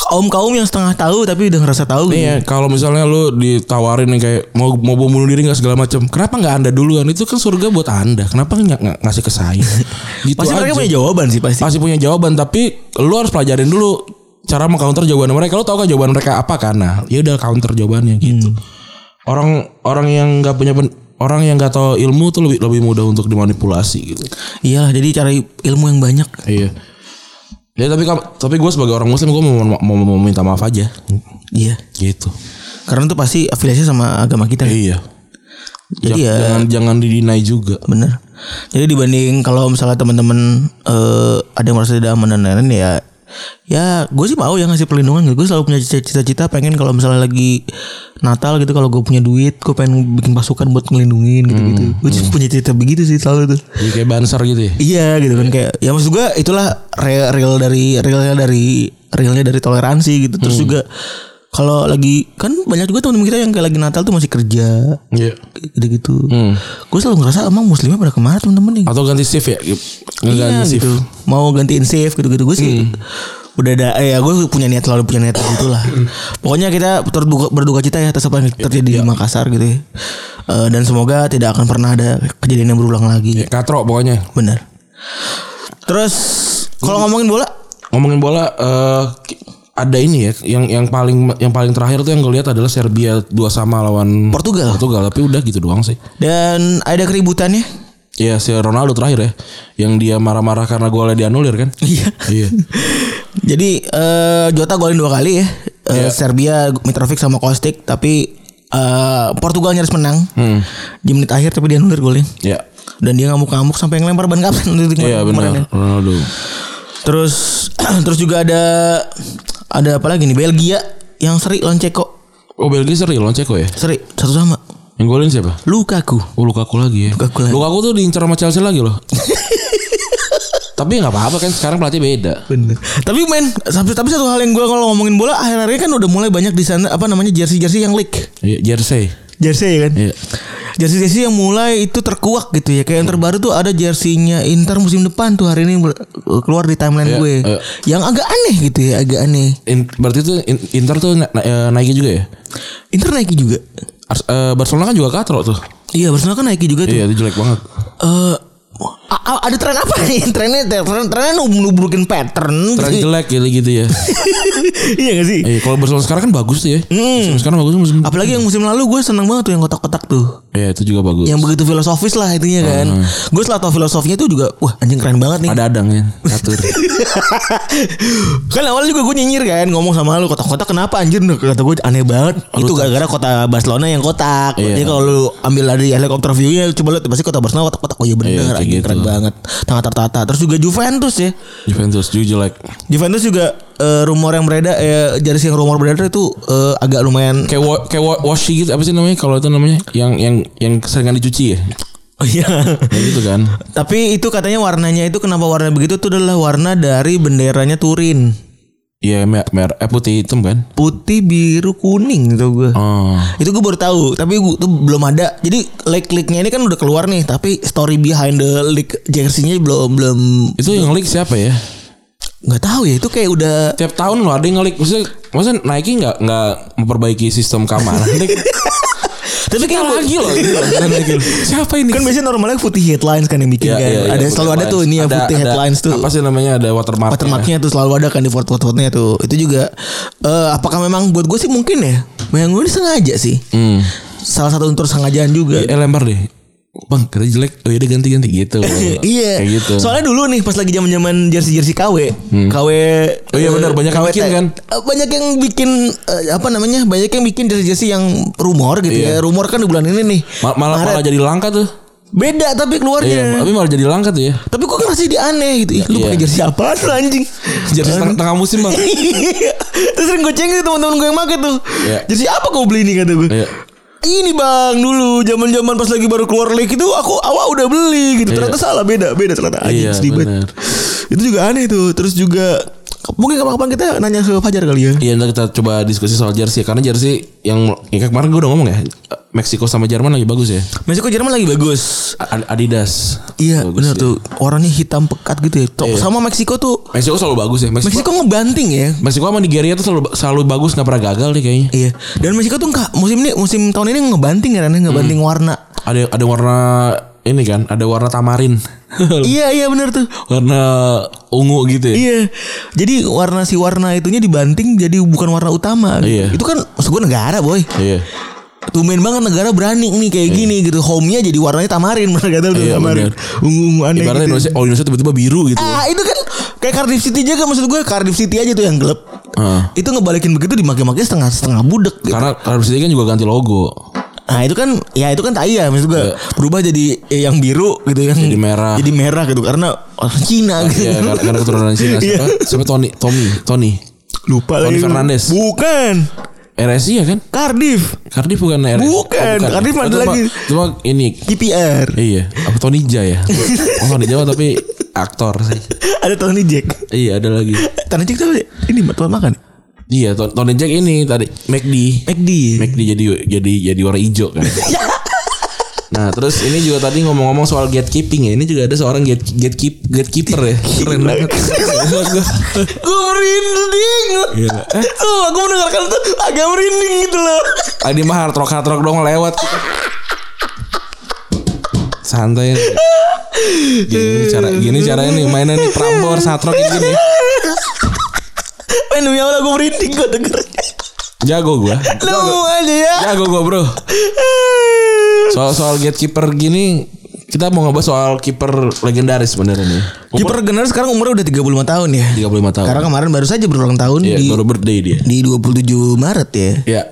C: kaum-kaum yang setengah tahu tapi udah ngerasa tahu gitu.
B: Iya, kalau misalnya lu ditawarin yang kayak mau mau bom bunuh diri nggak segala macam, kenapa nggak anda duluan? Itu kan surga buat anda, kenapa nggak nggak ngasih ke saya? gitu
C: Pasti mereka
B: aja.
C: punya jawaban sih pasti.
B: Masih punya jawaban tapi lu harus pelajarin dulu cara mengcounter jawaban mereka. Lu tau kan jawaban mereka apa kan? Nah, ya udah counter jawabannya gitu. Orang orang yang nggak punya pen- orang yang nggak tahu ilmu tuh lebih lebih mudah untuk dimanipulasi gitu.
C: Iyalah jadi cari ilmu yang banyak.
B: Iya. Ya tapi kam- tapi gue sebagai orang muslim gue mau, mau, mau minta maaf aja
C: Iya.
B: gitu.
C: Karena itu pasti afiliasinya sama agama kita.
B: Iya. Ja-
C: Jadi ya
B: Jangan jangan didinai juga.
C: bener. Jadi dibanding kalau misalnya teman-teman eh, ada yang merasa tidak aman dan lain-lain ya ya gue sih mau yang ngasih perlindungan gitu. gue selalu punya cita-cita pengen kalau misalnya lagi Natal gitu kalau gue punya duit gue pengen bikin pasukan buat ngelindungin gitu-gitu gue sih punya cita begitu sih selalu tuh
B: Jadi kayak banser gitu ya.
C: Iya gitu kan kayak ya maksud gua itulah real, real dari realnya dari realnya dari toleransi gitu terus juga kalau lagi kan banyak juga teman-teman kita yang kayak lagi Natal tuh masih kerja
B: Iya.
C: gitu gitu gue selalu ngerasa emang muslimnya pada kemana teman-teman nih
B: Atau ganti shift ya. Ngeganti
C: Iya,
B: shift.
C: gitu. mau gantiin safe gitu gitu gue sih udah ada eh, ya gue punya niat selalu punya niat gitu lah pokoknya kita berduka, berduka cita ya atas apa yang terjadi di Makassar gitu ya. Eh, dan semoga tidak akan pernah ada kejadian yang berulang
B: Ya,
C: lagi
B: katro pokoknya.
C: Bener. Terus kalau ngomongin bola,
B: ngomongin bola eh, ki- ada ini ya yang yang paling yang paling terakhir tuh yang gue lihat adalah Serbia dua sama lawan
C: Portugal.
B: Portugal tapi udah gitu doang sih
C: dan ada keributannya.
B: ya si Ronaldo terakhir ya yang dia marah-marah karena golnya dianulir kan
C: Iya.
B: iya
C: Jadi eh, Jota golin dua kali ya.
B: Iya.
C: Eh, Serbia Mitrovic sama Kostic tapi eh, Portugal nyaris menang.
B: Hmm.
C: Di menit akhir tapi dia nulir golin.
B: ya
C: Dan dia ngamuk-ngamuk sampai ngelempar ban kapten itu
B: iya
C: kemarin- kemarin ya.
B: benar Ronaldo
C: Terus terus juga ada ada apa lagi nih Belgia yang seri lawan Ceko.
B: oh Belgia seri lawan Ceko ya
C: Seri satu sama.
B: yang golin siapa
C: Lukaku.
B: Oh Lukaku lagi ya
C: Lukaku lagi.
B: tuh diincar sama Chelsea lagi loh Tapi nggak apa-apa kan sekarang pelatih beda.
C: Bener. Tapi men, tapi, tapi satu hal yang gue kalau ngomongin bola akhir-akhir ini kan udah mulai banyak di sana apa namanya jersey-jersey yang leak.
B: Iya, jersey.
C: Jersey ya kan?
B: Iya.
C: Jersey-jersey yang mulai itu terkuak gitu ya. Kayak yang terbaru tuh ada jersinya Inter musim depan tuh hari ini mul- keluar di timeline
B: Iya,
C: gue.
B: iya.
C: Yang agak aneh gitu ya, agak aneh.
B: In- berarti itu in- Inter tuh na- na- eh, Nike juga ya?
C: Inter naiki juga.
B: Ars- eh, Barcelona kan juga katro tuh.
C: Iya, Barcelona kan naiki juga tuh.
B: Iya, itu jelek banget.
C: Eh, a- a- ada tren apa nih? Trennya tren trennya nub- nubrukin pattern.
B: Tren jelek ya gitu ya.
C: iya gak sih?
B: Eh, kalau Barcelona sekarang kan bagus tuh ya.
C: Hmm.
B: Musim sekarang bagus musim.
C: Apalagi yang musim lalu gue seneng banget tuh yang kotak-kotak tuh.
B: Iya, itu juga bagus.
C: Yang begitu filosofis lah intinya kan. Gue setelah tau filosofinya tuh juga wah anjing keren banget nih.
B: Ada adang ya, catur.
C: kan awalnya juga gue nyinyir kan ngomong sama lu kotak-kotak kenapa anjir Nah, kata gue aneh banget itu gara-gara kota Barcelona yang kotak
B: Iya.
C: jadi kalau lu ambil dari helikopter view-nya coba lihat pasti kota Barcelona kotak-kotak oh iya bener
B: Iya, kayak
C: anjing, keren
B: gitu.
C: banget tengah tertata terus juga Juventus ya
B: Juventus juga jelek.
C: Juventus juga eh, rumor yang beredar eh, jersey yang rumor beredar itu eh, agak lumayan
B: Kayak wa- kayak wa- washi gitu apa sih namanya kalau itu namanya yang yang yang seringan dicuci ya?
C: Oh iya
B: Kayak gitu kan.
C: tapi itu katanya warnanya itu kenapa warna begitu itu adalah warna dari benderanya Turin
B: Iya, mer, mer- eh putih hitam kan.
C: putih biru kuning tuh gue
B: Oh.
C: itu gue baru tahu tapi gue tuh belum ada jadi leak leaknya ini kan udah keluar nih tapi story behind the leak jersey-nya belum belum
B: Itu yang leak siapa ya?
C: nggak tahu ya itu kayak udah
B: Tiap tahun loh ada yang ngelik. Maksudnya, maksudnya Nike nggak nggak memperbaiki sistem keamanan.
C: tapi kayak
B: lagi loh. ini loh, keren lagi loh. Siapa ini?
C: kan biasanya normalnya putih headlines kan yang bikin
B: Iya,
C: kan
B: iya, iya,
C: ada
B: putih
C: selalu ada tuh
B: headlines.
C: ini ya
B: Ada-
C: putih
B: ada
C: headlines tuh
B: Apa Iya. sih namanya ada watermark?
C: watermarknya tuh selalu ada kan di foto fotonya tuh itu juga eh, apakah memang buat gue sih mungkin ya yang gue ini sengaja sih
B: Hmm.
C: salah satu unsur sengajaan juga
B: Eh lempar deh. Bang, kira jelek. Oh ya udah ganti-ganti gitu.
C: Iya.
B: Kayak gitu.
C: Soalnya dulu nih pas lagi zaman-zaman jersey-jersey KW, KW
B: Oh iya, benar, banyak yang
C: KWT.
B: bikin kan?
C: Eh, Banyak yang bikin eh, apa namanya? Banyak yang bikin jersey-jersey yang rumor gitu
B: Iya.
C: ya. Rumor kan di bulan ini nih.
B: Ma- malah
C: Maret.
B: malah jadi langka tuh.
C: beda tapi
B: Iya,
C: keluarnya.
B: tapi malah jadi langka tuh ya.
C: Tapi kok ngerasa dia aneh gitu. Ih, lu
B: Iya.
C: pakai jersey apaan lu anjing? Iya.
B: Jadi tengah, tengah musim bang.
C: Terus sering gue cengin teman-teman gue yang make tuh.
B: Iya.
C: Jersey apa kau beli nih kata gue.
B: Iya.
C: Ini bang dulu zaman-zaman pas lagi baru keluar leak itu aku awal udah beli gitu. Ternyata salah beda, beda ternyata anjing
B: Iya,
C: sedih banget.
B: benar.
C: Itu juga aneh tuh. Terus juga mungkin kapan-kapan kita nanya ke Fajar kali ya.
B: Iya ntar kita coba diskusi soal jersey ya, karena jersey yang ya kayak kemarin gue udah ngomong ya Meksiko sama Jerman lagi bagus ya
C: Meksiko Jerman lagi bagus.
B: A- Adidas
C: Iya,
B: Bagus
C: benar
B: ya.
C: tuh. Orangnya hitam pekat gitu ya. Tuh,
B: Iya.
C: Sama Meksiko tuh
B: Meksiko selalu bagus ya Meksiko Meksiko,
C: Meksiko ngebanting ya.
B: sama Nigeria tuh selalu selalu bagus nggak pernah gagal deh kayaknya
C: Iya. Dan Meksiko tuh enggak musim ini musim tahun ini ngebanting ya, Ren, ngebanting warna.
B: ada ada warna ini kan ada warna tamarin
C: iya, iya benar tuh.
B: warna ungu gitu ya
C: Iya. Jadi warna si warna itunya dibanting jadi bukan warna utama.
B: Iya.
C: Itu kan maksud gue negara, boy.
B: iya
C: Tumben banget negara berani nih kayak gini gitu. Home-nya jadi warnanya tamarin, bener kata lu,
B: Iya,
C: tamarin.
B: bener.
C: Ungu-ungu aneh.
B: ibaratnya
C: gitu.
B: Indonesia oh Indonesia tiba-tiba biru gitu
C: Ah itu kan kayak Cardiff City aja kan maksud gue Cardiff City aja tuh yang gelap.
B: Ah.
C: Itu ngebalikin begitu dimaki-maki setengah setengah budek. Gitu.
B: karena harus kan juga ganti logo
C: Nah itu kan ya itu kan tai ya maksud gue berubah jadi eh, yang biru gitu yang
B: Iya. Jadi merah.
C: Jadi merah gitu karena orang Cina gitu.
B: Iya karena, karena keturunan Cina
C: Iya.
B: siapa siapa Tony Tommy Tony
C: Lupa
B: Tony
C: lagi.
B: Fernandes.
C: Bukan.
B: RSI ya kan
C: Cardiff.
B: Cardiff bukan RSI
C: Bukan,
B: Oh,
C: Cardiff
B: Oh,
C: ada
B: itu mah-
C: lagi.
B: itu mah ini
C: KPR.
B: Iya, apa Tony Jaa ya? Oh, Tony Jaa tapi aktor sih.
C: Ada Tony Jack.
B: Iya, ada lagi.
C: Tony Jack tuh ya? ini tempat makan.
B: Iya, Ton- Tony Jaa ini tadi McD.
C: McD.
B: McD jadi jadi jadi warna hijau kan. Nah, terus ini juga tadi ngomong-ngomong soal gatekeeping ya. Ini juga ada seorang gate gatekeep gatekeeper ya. Keren banget.
C: Gue merinding.
B: Gila. Eh,
C: Tuh, aku mendengarkan tuh agak merinding gitu loh.
B: Tadi mah hard rock hard rock dong lewat. Santai. Gini cara gini caranya nih mainan nih prambor satrok gini.
C: Men Eh, demi Allah gue merinding gue denger.
B: Iya Jago gua.
C: Lu aja ya.
B: Jago gua, Bro. Iya. soal soal gatekeeper gini kita mau ngebahas soal kiper legendaris beneran nih. Umur
C: Kiper Genar sekarang umurnya udah 35 tahun ya.
B: 35 tahun.
C: Karena kemarin baru saja berulang tahun
B: Iya,
C: di
B: baru birthday dia.
C: di 27 Maret ya. Eh,
B: Iya.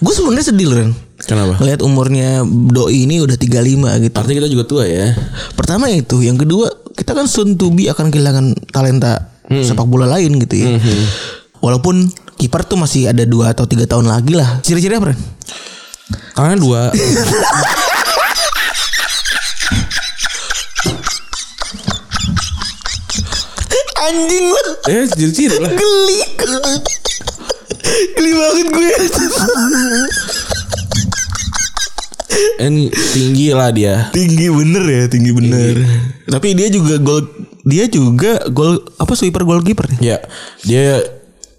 C: gue sebenarnya sedih loh Ren.
B: Kenapa?
C: Ngeliat umurnya doi ini udah 35 gitu.
B: Artinya kita juga tua ya.
C: Pertama itu, yang kedua kita kan soon to be akan kehilangan talenta sepak bola lain gitu ya. Walaupun kiper tuh masih ada dua atau tiga tahun lagi lah. Ciri-ciri apa? Ren?
B: Tangannya dua.
C: Anjing lu
B: Eh jadi tidak lah.
C: Geli Geli banget gue
B: Eh, Ini tinggi lah dia.
C: Tinggi bener ya Tinggi bener Tapi dia juga gol Dia juga gol Apa sweeper goalkeeper ya?
B: Ya dia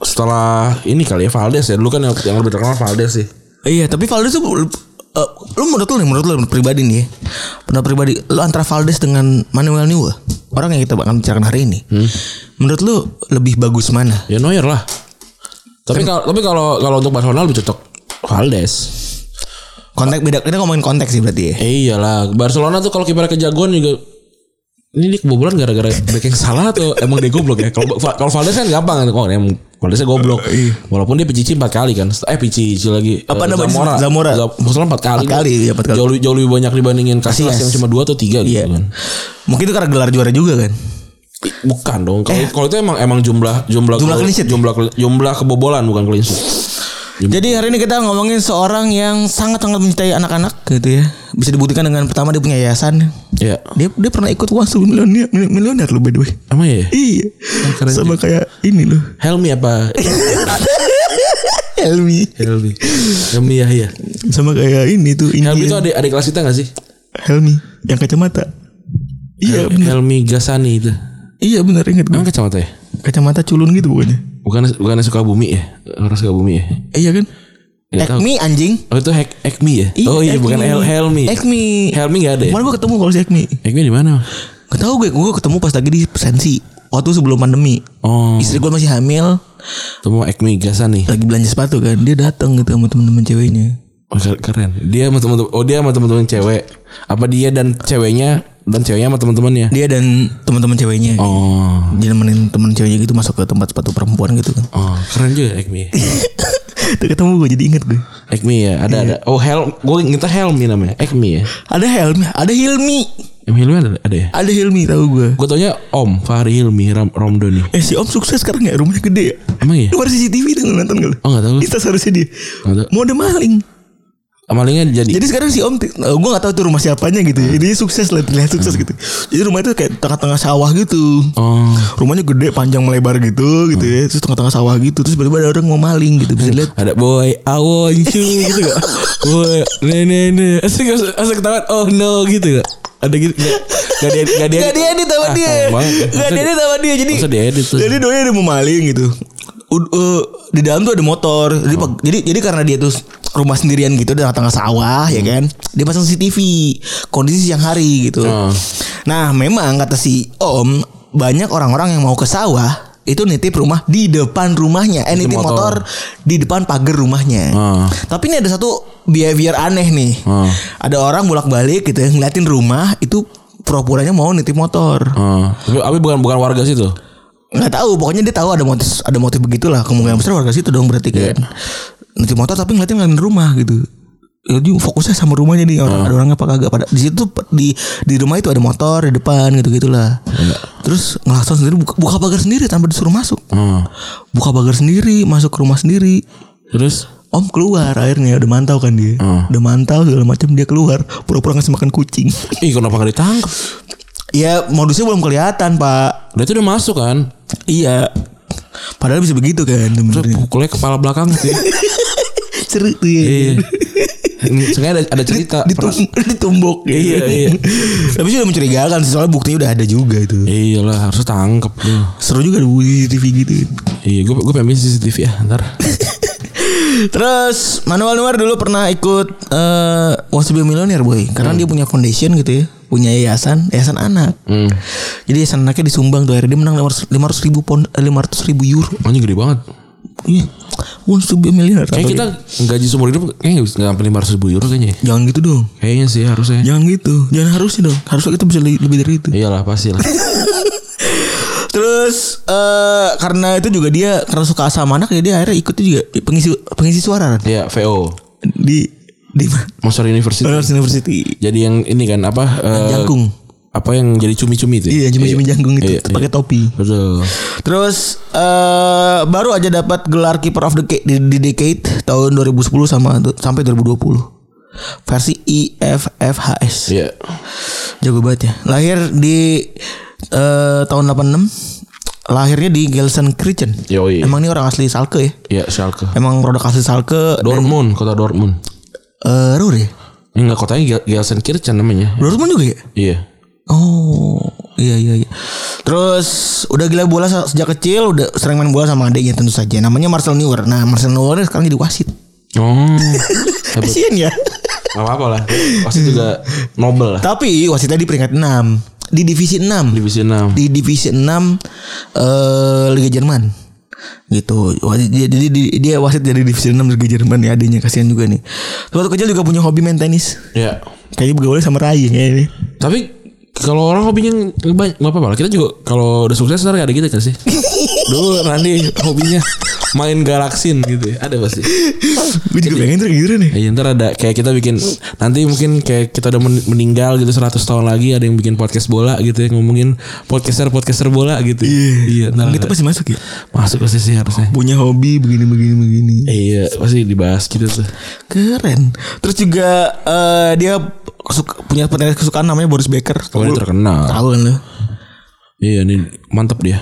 B: setelah ini kali ya Valdes ya dulu kan yang, yang lebih terkenal Valdes sih.
C: Iya tapi Valdes tuh eh, Lu menurut lu nih Menurut lu pribadi nih ya Menurut pribadi Lu antara Valdes dengan Manuel Neuer Orang yang kita bakal bicarakan hari ini Menurut lu Lebih bagus mana?
B: Ya Neuer lah. Kan- Tapi kalau tapi kalau kalau untuk Barcelona lebih cocok Valdes.
C: Kontak beda Kita ngomongin konteks sih berarti ya
B: Eh iyalah Barcelona tuh kalau kiper kejagoan juga ini dia kebobolan gara-gara back yang salah atau emang dia goblok ya? Kalau kalau Valdes kan gampang kan, oh, emang Valdesnya goblok. Walaupun dia pici empat kali kan, eh pici lagi.
C: Apa
B: Eh,
C: namanya? Zamora.
B: Zam- Maksudnya empat kali. kan?
C: Empat kali, iya, empat kali.
B: Jauh, lebih- jauh lebih banyak dibandingin Casillas
C: Casillas.
B: yang cuma dua atau tiga gitu
C: Iya
B: kan.
C: Mungkin itu karena gelar juara juga kan
B: Bukan dong. Kalau kalau itu emang emang jumlah jumlah
C: Eh. Jumlah
B: gol-
C: clean sheet.
B: jumlah jumlah kebobolan bukan clean sheet.
C: Jadi hari ini kita ngomongin seorang yang sangat sangat mencintai anak-anak gitu ya. Bisa dibuktikan dengan pertama dia punya yayasan.
B: Ya.
C: Dia dia pernah ikut uang sebelum milioner milioner loh by the way.
B: Emang ya?
C: Iya.
B: keren
C: Sama kayak ini loh.
B: Helmi apa?
C: Iya. Helmi.
B: Helmi. Helmi ya iya.
C: Sama kayak ini tuh ini.
B: Helmi itu
C: yang-
B: adik adik kelas kita gak sih?
C: Helmi yang kacamata. Iya, bener.
B: Helmi Gasani itu.
C: iya benar ingat gue.
B: Emang kacamata ya?
C: Kacamata culun gitu pokoknya.
B: Bukan bukan Sukabumi ya? Orang Sukabumi ya?
C: Iya kan?
B: Nggak tahu.
C: Ekmi anjing.
B: Oh itu Hek Ekmi ya? oh iya
C: Ekmi.
B: bukan Hel Helmi.
C: Ekmi.
B: Helmi gak ada ya?
C: Mana gue ketemu kalau si Ekmi.
B: Ekmi di mana?
C: Gak tau gue, gue ketemu pas lagi di pensi Waktu sebelum pandemi
B: Oh,
C: Istri gue masih hamil
B: temu Ekmi Gasani.
C: Lagi belanja sepatu kan Dia datang gitu sama temen-temen ceweknya
B: Oh, ker- keren. Dia sama teman-teman. Oh, dia sama teman-teman cewek. Apa dia dan ceweknya dan ceweknya sama teman-temannya?
C: Dia dan temen-temen ceweknya
B: Oh.
C: Dia nemenin temen ceweknya gitu masuk ke tempat sepatu perempuan gitu kan
B: Oh, keren juga Ekmi.
C: Tuh ketemu gue jadi inget gue
B: Ekmi ya, ada ada. Oh, Hel gue nginta Helmi namanya. Ekmi ya.
C: Ada Helmi Ada Hilmi
B: Em Helmi ada, ada ya?
C: Ada Hilmi tahu gue
B: Gue taunya Om Fahri Hilmi Ram Romdoni.
C: Eh si om sukses sekarang ya Rumahnya gede ya
B: Emang iya?
C: Lu baru CCTV tuh nonton gak lu?
B: Oh, nggak tahu.
C: Kita seharusnya dia
B: Nggak tahu.
C: Mode maling
B: Amalinnya jadi
C: Jadi sekarang si Om, eh, gue gak tahu tuh rumah siapanya gitu. ya. Ini sukses lah, terlihat sukses gitu. Jadi rumah itu kayak tengah-tengah sawah gitu.
B: Oh.
C: Rumahnya gede, panjang melebar gitu, gitu ya. Terus tengah-tengah sawah gitu. Terus tiba-tiba ada orang mau maling gitu. Bisa dilihat.
B: Ada boy I want you gitu gak? Boy ne ne ne. Asik asik- asik ketahuan oh no gitu gak? Ada gitu gak? Gak dia gak dia.
C: Gak diedit sama
B: Ah,
C: dia.
B: tahu banget.
C: Gak
B: Masa-
C: diedit sama dia. Jadi
B: Masa diedit tuh?
C: jadi doya ada mau maling gitu. Ud- eh, di dalam tuh ada motor.
B: Oh.
C: Jadi, pag- jadi jadi karena dia tuh rumah sendirian gitu di tengah-tengah sawah ya kan. Dia pasang CCTV kondisi siang hari gitu.
B: Oh.
C: Nah, memang kata si Om banyak orang-orang yang mau ke sawah itu nitip rumah di depan rumahnya, eh nitip motor.
B: motor.
C: di depan pagar rumahnya.
B: Oh.
C: Tapi ini ada satu behavior aneh nih.
B: Oh.
C: Ada orang bolak-balik gitu ya, ngeliatin rumah itu pura-puranya mau nitip motor.
B: Oh. Tapi tapi bukan bukan warga situ.
C: nggak tahu pokoknya dia tahu ada motif ada motif begitulah kemungkinan besar warga situ dong berarti kan nanti motor tapi ngeliatin ngeliatin rumah gitu jadi fokusnya sama rumahnya nih orang ada orang apa kagak pada di situ pe- di di rumah itu ada motor di depan gitu gitulah terus ngelakson sendiri buka, buka pagar sendiri tanpa disuruh masuk
B: Oh.
C: buka pagar sendiri masuk ke rumah sendiri
B: Terus
C: Om keluar akhirnya udah mantau kan dia
B: Hmm.
C: udah mantau segala macam dia keluar pura-pura ngasih makan kucing
B: ih kenapa gak ditangkap?
C: ya modusnya belum kelihatan pak
B: Dia tuh udah masuk kan?
C: iya padahal bisa begitu kan
B: Terus
C: sebenarnya
B: pukulnya kepala belakang sih.
C: seru tuh ya.
B: Iya. Sengaja ada, ada cerita.
C: Ditum- ditumbuk
B: Iya, iya.
C: tapi sih udah mencurigakan sih, soalnya buktinya udah ada juga itu
B: Iya lah harus tangkep tuh.
C: seru juga ada bukti TV gitu
B: Iya, gue gue pengen bikin CCTV ya ntar.
C: terus Manuel Nuar dulu pernah ikut eh Wants to be a Millionaire boy karena dia punya foundation gitu ya punya yayasan yayasan anak
B: Hmm.
C: jadi yayasan anaknya disumbang tuh akhirnya dia menang 500 ribu pon 500 ribu euro
B: Anjing gede banget.
C: iya Wants to be a Millionaire
B: Kayak
C: Atau-
B: kita gaji seumur hidup kayaknya nggak sampai lima ratus ribu euro kayaknya. ya.
C: jangan gitu dong
B: Kayaknya sih harusnya.
C: jangan gitu jangan harusnya dong harusnya kita bisa le- lebih dari itu
B: Iyalah pasti lah.
C: Terus eh karena itu juga dia karena suka sama anak ya dia akhirnya ikut juga pengisi pengisi suara kan?
B: Iya VO
C: di di mana?
B: Monster University.
C: Honors University.
B: Jadi yang ini kan apa? eh,
C: Jangkung.
B: Apa yang jadi cumi-cumi itu? ya?
C: Iya, cumi-cumi janggung itu
B: Iya, iya.
C: pakai topi.
B: Betul.
C: Terus eh baru aja dapat gelar Keeper of the Ca- di, di Decade tahun 2010 sama sampai 2020. Versi E IFFHS.
B: Iya.
C: Jago banget ya. Lahir di eh tahun 86 lahirnya di Gelsenkirchen.
B: Yoi.
C: Emang ini orang asli Salke ya?
B: Ya Schalke.
C: Emang produk asli Salke
B: Dortmund, kota Dortmund.
C: eh Ruhr ya?
B: Ya enggak kotanya Gel- Gelsenkirchen namanya.
C: Dortmund juga ya?
B: Iya.
C: Oh, iya iya iya. Terus udah gila bola se- sejak kecil, udah sering main bola sama adiknya tentu saja. Namanya Marcel Neuer. Nah, Marcel Neuer sekarang jadi wasit.
B: Oh. Hebat.
C: Kasian ya.
B: Gak apa-apa lah. Pasti juga nobel lah.
C: Tapi wasitnya di peringkat 6 di divisi 6.
B: Divisi 6.
C: di divisi 6 eh Liga Jerman gitu Wah, dia- jadi di- dia wasit dari divisi 6 Liga Jerman ya adanya kasihan juga nih Terus waktu kecil juga punya hobi main tenis
B: Ya.
C: kayaknya bergaulnya sama Rai kayaknya nih
B: Tapi kalau orang hobinya banyak nggak apa-apa lah. Kita juga kalau udah sukses ntar ada kita kan sih. Dulu Randi hobinya main galaksin gitu ya. Ada pasti.
C: gue juga pengen tuh kayak gitu nih
B: Iya ntar ada kayak kita bikin nanti mungkin kayak kita udah men- meninggal gitu 100 tahun lagi ada yang bikin podcast bola gitu ya ngomongin podcaster podcaster bola gitu. Iya. ntar
C: kita
B: ada.
C: pasti masuk ya
B: masuk pasti sih harusnya.
C: punya hobi begini begini begini
B: Iya pasti dibahas gitu tuh.
C: keren terus juga eh dia suka- punya petenis kesukaan namanya Boris Becker
B: Oh, dia terkenal.
C: tahu kan lu
B: Iya ini mantep dia.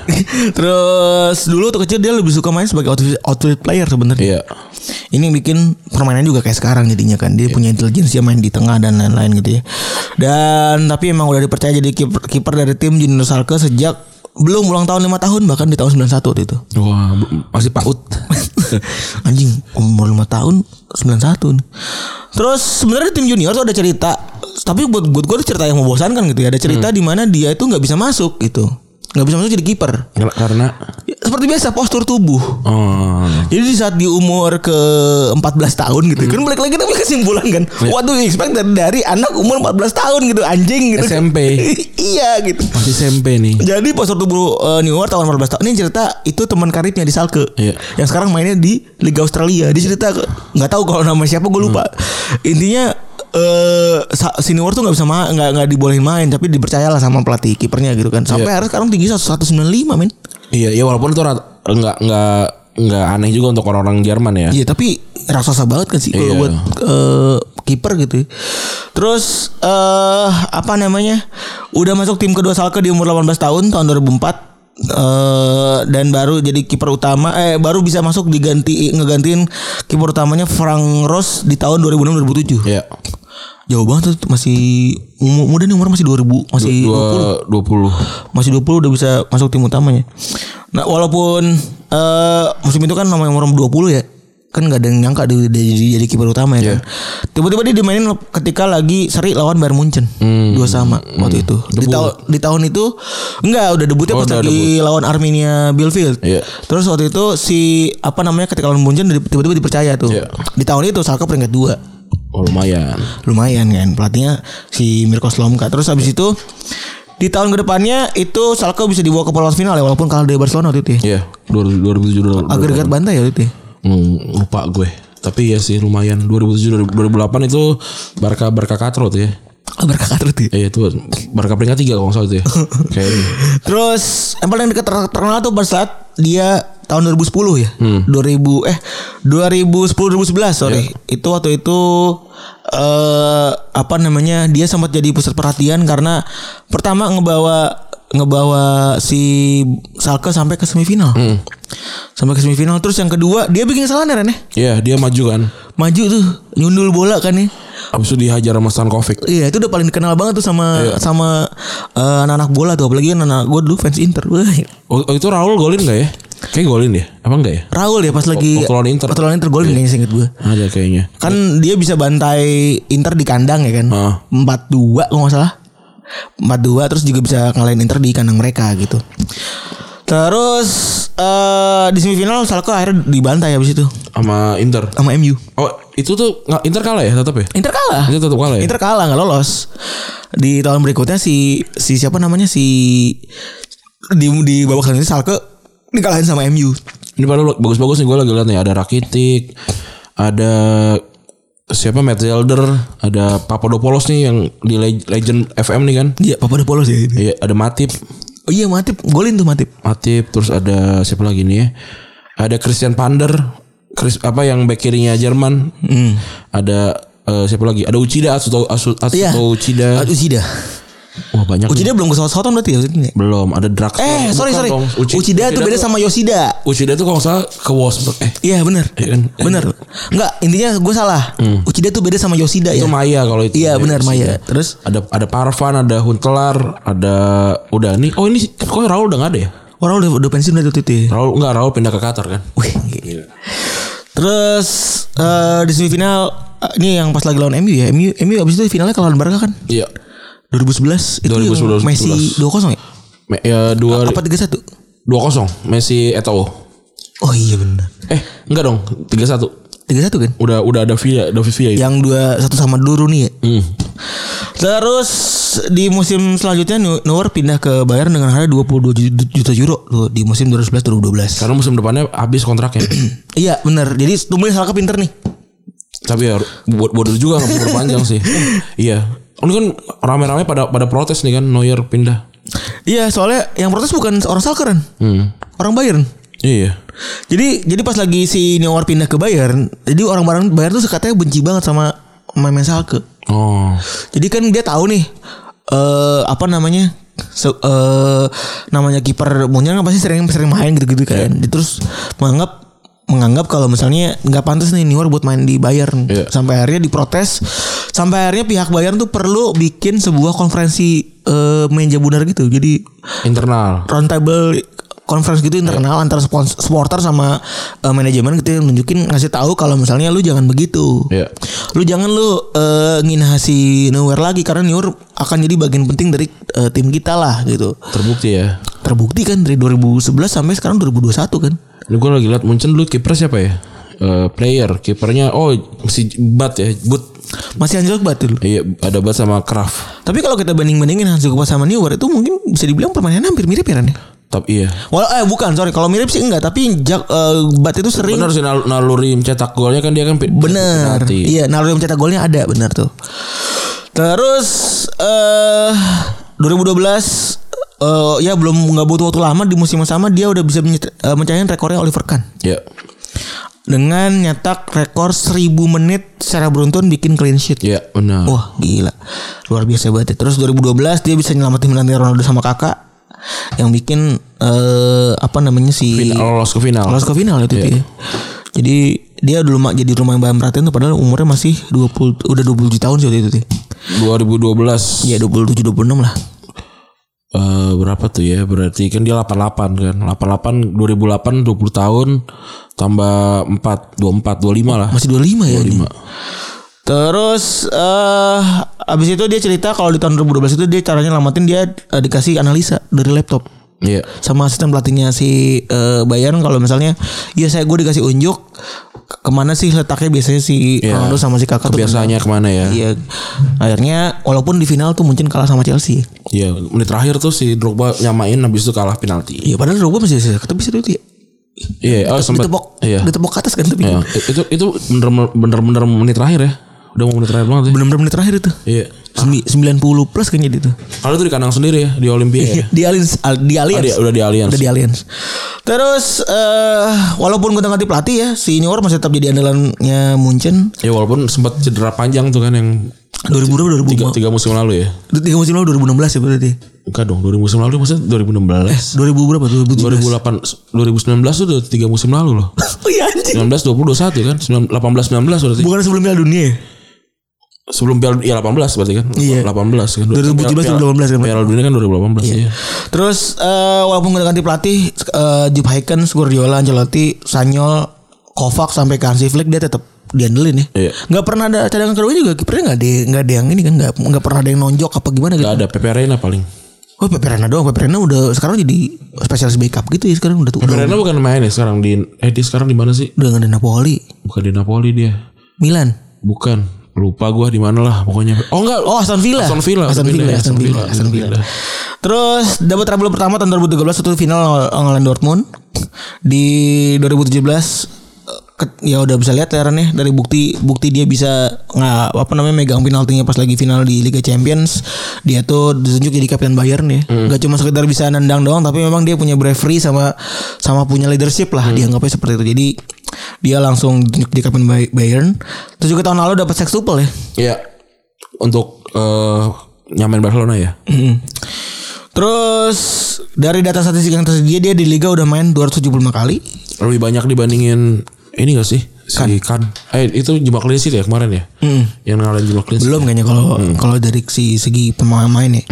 C: terus dulu waktu kecil dia lebih suka main sebagai outfield, outfield player sebenarnya
B: Iya.
C: Ini yang bikin permainan juga kayak sekarang jadinya kan dia punya intelijensi dia main di tengah dan lain-lain gitu ya. Dan tapi emang udah dipercaya jadi kiper kiper dari tim Junior Salke sejak belum ulang tahun lima tahun bahkan di tahun 91 waktu itu.
B: Wah bu- masih paut.
C: Anjing umur lima tahun 91 nih. Terus sebenarnya di tim junior tuh ada cerita tapi buat buat gue cerita yang membosankan gitu ya. Ada cerita di mana dia itu nggak bisa masuk gitu. nggak bisa masuk jadi kiper. Ya,
B: Karena
C: Seperti biasa postur tubuh.
B: oh,
C: Jadi di saat di umur ke 14 tahun gitu Kan balik lagi tapi kesimpulan kan What do you expect dari, dari anak umur 14 tahun gitu Anjing gitu
B: SMP.
C: Iya gitu
B: masih SMP nih.
C: Jadi postur tubuh eh, Newer tahun 14 tahun Ini cerita itu teman karibnya di Salke
B: Iya.
C: Yang sekarang mainnya di Liga Australia Dia cerita ke- nggak tahu kalau nama siapa gue lupa Intinya eh Sa- si Newer tuh nggak bisa ma- nggak nggak dibolehin main tapi dipercayalah sama pelatih kipernya gitu kan sampai akhirnya sekarang tinggi 195 men
B: Iya, ya walaupun itu rat- nggak nggak nggak aneh juga untuk orang-orang Jerman ya.
C: Iya tapi raksasa banget kan sih kalau
B: Iya.
C: buat eh, kiper gitu. ya. Terus eh apa namanya? Udah masuk tim kedua Salke di umur 18 tahun tahun 2004 eh dan baru jadi kiper utama eh baru bisa masuk diganti ngegantiin kiper utamanya Frank Ross di tahun 2006 2007.
B: Iya.
C: Jauh banget tuh masih umur muda nih umur masih 2000 masih
B: Dua dua puluh.
C: masih 20 udah bisa masuk tim utamanya. Nah, walaupun eh musim itu kan namanya umur 20 ya. Kan gak ada yang nyangka dia, dia jadi, jadi kiper utama ya kan.
B: Iya.
C: Tiba-tiba dia dimainin ketika lagi seri lawan Bayern Munchen.
B: Hmm.
C: Dua sama waktu itu. Di, tahun di tahun itu enggak udah debutnya
B: Oh,
C: pas
B: udah
C: lagi lawan Arminia Bielefeld.
B: Iya.
C: Terus waktu itu si apa namanya ketika lawan Munchen tiba-tiba dipercaya tuh.
B: Iya.
C: Di tahun itu Salke peringkat 2
B: Oh, lumayan.
C: lumayan kan pelatihnya si Mirko Slomka terus habis itu di tahun kedepannya itu Salke bisa dibawa ke perlawanan final ya walaupun kalah dari Barcelona waktu itu ya.
B: Iya. Dua dua ribu tujuh dua.
C: agregat bantai ya waktu itu ya.
B: Hmm, lupa gue. Tapi ya sih lumayan. 2007 2008 itu Barca Barca Katro tuh ya.
C: Ah, berkakak terus ya.
B: Eh itu Barca peringkat 3 kalau nggak salah tuh ya. Kayaknya.
C: terus yang paling dekat ter- terkenal tuh pada saat dia tahun 2010 ya 2000 eh 2010 2011 sorry itu waktu itu eh apa namanya dia sempat jadi pusat perhatian karena pertama ngebawa ngebawa si Salke sampai ke semifinal sampai ke semifinal terus yang kedua dia bikin kesalahan ya Ren, ya.
B: Iya, dia maju kan.
C: maju tuh nyundul bola kan ya
B: Habis itu dihajar sama Stankovic.
C: Iya itu udah paling dikenal banget tuh sama sama eh, anak-anak bola tuh apalagi kan anak gue dulu fans Inter. Wah,
B: Oh, oh, itu Raul golin nggak ya? Kayak golin ya? Apa enggak ya?
C: Raul ya pas lagi
B: waktu lawan Inter. Iya.
C: Waktu lawan Inter golin kayaknya seinget gue.
B: Ada kayaknya.
C: Kan dia bisa bantai Inter di kandang ya kan.
B: Heeh.
C: 4-2 kalau nggak salah. 4-2 terus juga bisa ngalahin Inter di kandang mereka gitu. Terus eh di semifinal Salko akhirnya dibantai habis itu
B: Sama Inter.
C: sama MU.
B: Oh, itu tuh nggak- Inter kalah ya tetap ya?
C: Inter kalah.
B: Itu tetap kalah ya?
C: Inter kalah nggak lolos. Di tahun berikutnya si si siapa namanya si di di babak selanjutnya Salke dikalahin sama MU.
B: Ini padahal bagus-bagus nih gue lagi liat nih ada Rakitic, ada siapa Matt Zelder, ada Papadopoulos nih yang di Le- Legend FM nih kan.
C: Iya, Papa udah polos ya ini.
B: Iya, ada Matip,
C: Oh iya Matip, golin tuh Matip.
B: Matip terus ada siapa lagi nih ya? Ada Christian Pander, Chris apa yang back kirinya Jerman.
C: Hmm.
B: Ada eh, siapa lagi? Ada Uchida Atsuto Atsuto
C: Iya.
B: Uchida.
C: Aduh Zida.
B: Wah banyak.
C: Uchida belum ke Southampton berarti ya maksudnya?
B: belum ada drugs.
C: Eh sorry sorry
B: Ucida,
C: Uchida tuh beda sama Yoshida
B: Uchida tuh kalau nggak salah ke Wolfsburg. Eh
C: Iya bener
B: Iya kan? Hmm.
C: Bener Enggak intinya gue salah Uchida tuh beda sama Yoshida
B: itu
C: ya
B: Maya kalau itu. Ya,
C: Iya benar
B: Uchida.
C: Maya Terus
B: Ada ada Parvan, ada Huntelaar, ada udah nih. Oh ini kok Raul udah nggak ada ya?
C: Orang udah, udah pensiun dari itu ya
B: Raul nggak Raul pindah ke Qatar kan?
C: Wih gila. Terus eh, di semifinal eh, Ini yang pas lagi lawan MU ya MU, MU abis itu finalnya kalah lawan Barca kan
B: Iya.
C: 2011 Itu
B: 2011.
C: yang Messi 2-0 ya
B: Me- ya dua
C: Apa 3-1
B: dua kosong Messi Eto'o.
C: Oh iya bener
B: Eh enggak dong tiga satu.
C: 3-1 kan
B: Udah udah ada Villa, David Villa itu.
C: Yang dua satu sama Duru nih ya
B: Iya. Hmm.
C: Terus di musim selanjutnya Nu- Neuer pindah ke Bayern dengan harga 22 ju- juta euro loh, di musim 2011 2012.
B: Karena musim depannya habis kontraknya.
C: Iya benar. Jadi Tumbel salah pinter nih.
B: Tapi ya buat buat itu juga nggak perlu panjang sih. iya. Ini kan rame-rame pada pada protes nih kan Neuer pindah.
C: Iya soalnya yang protes bukan orang Salkeran,
B: Hmm.
C: orang Bayern.
B: Iya.
C: Jadi jadi pas lagi si Neuer pindah ke Bayern, jadi orang Bayern Bayern tuh katanya benci banget sama main Salke.
B: Oh.
C: Jadi kan dia tahu nih eh apa namanya? se- eh, namanya kiper Munchen kan pasti sering sering main gitu-gitu kan. Dia Terus menganggap menganggap kalau misalnya nggak pantas nih Neuer buat main di Bayern.
B: Iya.
C: Sampai akhirnya diprotes. Sampai akhirnya pihak Bayern tuh perlu bikin sebuah konferensi eh meja bundar gitu. Jadi
B: Internal.
C: round table conference gitu internal antara spons- supporter sama eh, manajemen gitu yang nunjukin ngasih tahu kalau misalnya lu jangan begitu.
B: Iya.
C: Lu jangan lu eh, nginah si Neuer lagi karena Neuer akan jadi bagian penting dari eh, tim kita lah gitu.
B: Terbukti ya.
C: Terbukti kan dari 2011 sampai sekarang 2021 kan.
B: Ini gue lagi liat Munchen dulu kiper siapa ya? Eh, player kipernya oh si Bat ya But
C: Masih anjlok banget dulu.
B: iya ada Bat sama Kraft
C: Tapi kalau kita banding-bandingin Hansi Kupas sama Neuer itu mungkin bisa dibilang permainannya hampir mirip ya Ran, ya?
B: tapi iya
C: Walau eh bukan sorry kalau mirip sih enggak tapi Jak eh, Bat itu sering
B: benar sih nal- naluri mencetak golnya kan dia kan pe-
C: Bener.
B: penalti.
C: Iya, naluri mencetak golnya ada bener tuh. Terus eh 2012 eh, ya belum nggak butuh waktu lama di musim yang sama dia udah bisa menyet- eh, mencatatkan rekornya Oliver Kahn
B: Iya.
C: dengan nyetak rekor 1000 menit secara beruntun bikin clean sheet.
B: Iya benar.
C: Wah, gila. Luar biasa banget. ya. Terus 2012 dia bisa nyelamatin menantu Ronaldo sama Kakak yang bikin eh apa namanya si
B: Final, lolos ke final.
C: Lolos ke final itu dia. Iya. Jadi dia dulu mak jadi rumah yang bahan perhatian tuh padahal umurnya masih 20 udah 27 tahun sih waktu itu tuh.
B: 2012.
C: Ya 27 26 lah.
B: Eh, berapa tuh ya? Berarti kan dia 88 kan. 88 2008 20 tahun tambah 4 24 25 lah.
C: Masih 25 ya ini. Terus eh abis itu dia cerita kalau di tahun 2012 itu dia caranya lamatin dia eh, dikasih analisa dari laptop
B: Iya.
C: sama asisten pelatihnya si eh, Bayern kalau misalnya ya saya gue dikasih unjuk ke- kemana sih letaknya biasanya si
B: Iya.
C: Ronaldo sama si Kakak tuh
B: Kebiasaannya kemana ya?
C: Iya. Akhirnya walaupun di final tuh mungkin kalah sama Chelsea.
B: Iya, menit terakhir tuh si Drogba nyamain habis itu kalah penalti.
C: Iya padahal Drogba masih bisa ketepis itu ya.
B: Iya, oh, sempat.
C: Ditepok,
B: Iya.
C: ditepok ke atas kan tapi
B: Iya. Itu itu bener bener-bener menit terakhir ya. Udah mau menit terakhir banget ya.
C: benar-benar menit terakhir itu.
B: Iya.
C: Sembi- 90 plus kayaknya dia itu.
B: Kalau itu di kandang sendiri ya di Olimpia ya.
C: Di Allianz, Al- di
B: Ah,
C: Allianz.
B: dia- udah di Allianz.
C: Iya. Udah di Allianz. Terus eh walaupun gonta ganti pelatih ya, si Neuer masih tetap jadi andalannya Munchen.
B: Ya walaupun sempat cedera panjang tuh kan yang
C: 2000
B: tiga,
C: 2005.
B: tiga musim lalu ya.
C: Tiga musim lalu 2016 ya berarti.
B: Enggak dong, 2000 musim lalu maksudnya 2016.
C: 2000 berapa?
B: 2008
C: 2017.
B: 2019 tuh udah 3 musim lalu loh.
C: Oh iya anjing.
B: 19 20 21 kan? 19, 18 19 berarti.
C: Bukan sebelum Piala Dunia ya?
B: Sebelum Piala ya 18 berarti kan?
C: Iya.
B: 18 kan.
C: 2017,
B: Piala-
C: 2018 kan?
B: Piala Dunia kan 2018 iya.
C: Terus eh, walaupun udah ganti pelatih eh Jupp Heynckes, Guardiola, Ancelotti, Sanyol, Kovac sampai ke Hansi Flick dia tetap diandelin ya.
B: Iya.
C: Nggak pernah ada cadangan kedua juga kipernya nggak ada nggak ada yang ini kan nggak nggak pernah ada yang nonjok apa gimana gitu.
B: Gak ada Pepe Reina paling.
C: Oh Pepe Reina doang Pepe Reina udah sekarang jadi spesialis backup gitu ya sekarang udah tuh
B: Pepe
C: udah,
B: Reina bukan main ya sekarang di eh dia sekarang di mana sih?
C: udah nggak ada Napoli
B: Bukan di Napoli dia.
C: Milan.
B: Bukan. Lupa gua di mana lah pokoknya. Oh enggak.
C: Oh Aston Villa.
B: Aston Villa.
C: Aston Villa. Aston Villa.
B: Aston Villa.
C: Aston Villa. Terus dapat treble pertama tahun 2013 itu final ng- ngalahin Dortmund. Di 2017 eh, ke- ya udah bisa lihat Aaron ya dari bukti bukti dia bisa nggak apa namanya megang penaltinya pas lagi final di Liga Champions dia tuh ditunjuk jadi kapten Bayern ya nggak cuma sekedar bisa nendang doang tapi memang dia punya bravery sama sama punya leadership lah dianggapnya seperti itu jadi dia langsung ditunjuk jadi kapten Bay- Bayern terus juga tahun lalu dapat sextuple ya
B: Iya. Untuk iya. eh nyamain Barcelona ya.
C: Terus dari data statistik yang tersedia dia di liga udah main 275 kali.
B: Lebih banyak dibandingin ini gak sih? Si Kan. Eh itu jebak clean sheet ya kemarin ya? Yang ngalahin jebak clean sheet.
C: Belum kayaknya kalau kalau dari si segi pemain ya.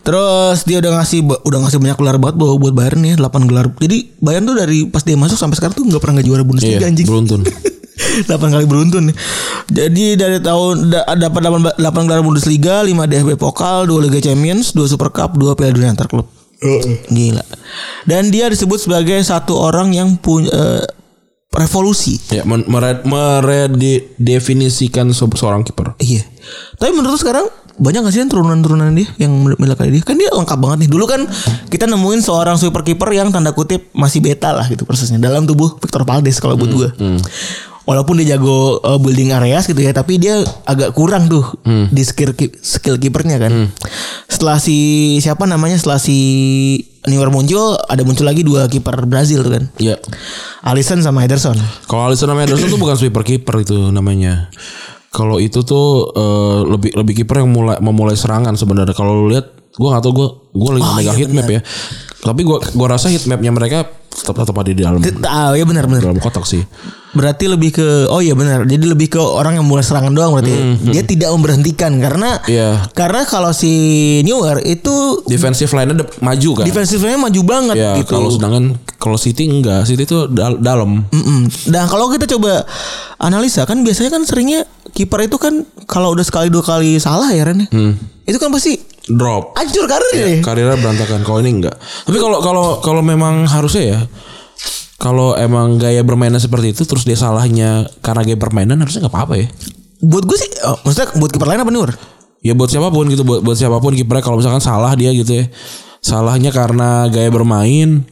C: Terus dia udah ngasih udah ngasih banyak gelar banget buat buat Bayern ya, 8 gelar. Jadi Bayern tuh dari pas dia masuk sampai sekarang tuh nggak pernah nggak juara
B: Iya,
C: Bundesliga anjing.
B: beruntun.
C: 8 kali beruntun. Jadi dari tahun da- dapat 8, 8 gelar Bundesliga, 5 DFB Pokal, 2 Liga Champions, 2 Super Cup, 2 Piala Dunia Antar Klub. Gila. Dan dia disebut sebagai satu orang yang punya eh, revolusi.
B: ya men- mere- meredefinisikan se- seorang kiper.
C: Iya. Tapi menurut lu sekarang banyak gak sih yang turunan-turunan dia yang mel- melekat dia? Kan dia lengkap banget nih. Dulu kan kita nemuin seorang super kiper yang tanda kutip masih beta lah gitu prosesnya dalam tubuh Victor Valdes kalau buat gua. Walaupun dia jago uh, building areas gitu ya, tapi dia agak kurang tuh di skill ki- skill kipernya kan. Setelah si siapa namanya setelah si Neymar muncul, ada muncul lagi dua kiper Brazil tuh kan.
B: Ya.
C: Alisson sama Ederson.
B: Kalau Alisson sama Ederson tuh bukan sweeper kiper itu namanya. Kalau itu tuh eh, lebih lebih kiper yang mulai memulai serangan sebenarnya. Kalau lu lihat gua nggak tahu gua gua lagi nggak megang heat map ya. Tapi gua gua rasa heat mapnya mereka tetap tetap ada di dalam
C: Ah, ya benar-benar.
B: dalam kotak sih.
C: Berarti lebih ke oh iya benar. Jadi lebih ke orang yang mulai serangan doang berarti. ya? Dia tidak memberhentikan karena
B: Hmm, Iya.
C: karena kalau si Newer itu
B: Defensive line-nya de- maju kan.
C: defensifnya maju banget
B: ya,
C: gitu.
B: kalau sedangkan kalau City enggak, City tuh dal- dalam.
C: Mm-mm. Nah kalau kita coba analisa kan biasanya kan seringnya kiper itu kan kalau udah sekali dua kali salah ya Ren ya.
B: Hmm.
C: Itu kan pasti
B: Drop.
C: hancur
B: Iya,
C: karirnya.
B: karirnya berantakan kalau ini enggak tapi kalau kalau kalau memang harusnya ya kalau emang gaya bermainnya seperti itu terus dia salahnya karena gaya permainan harusnya nggak apa-apa ya
C: Buat gue sih oh, maksudnya buat kiper lain apa Newer?
B: ya buat siapapun gitu buat buat siapapun kipernya kalau misalkan salah dia gitu ya salahnya karena gaya bermain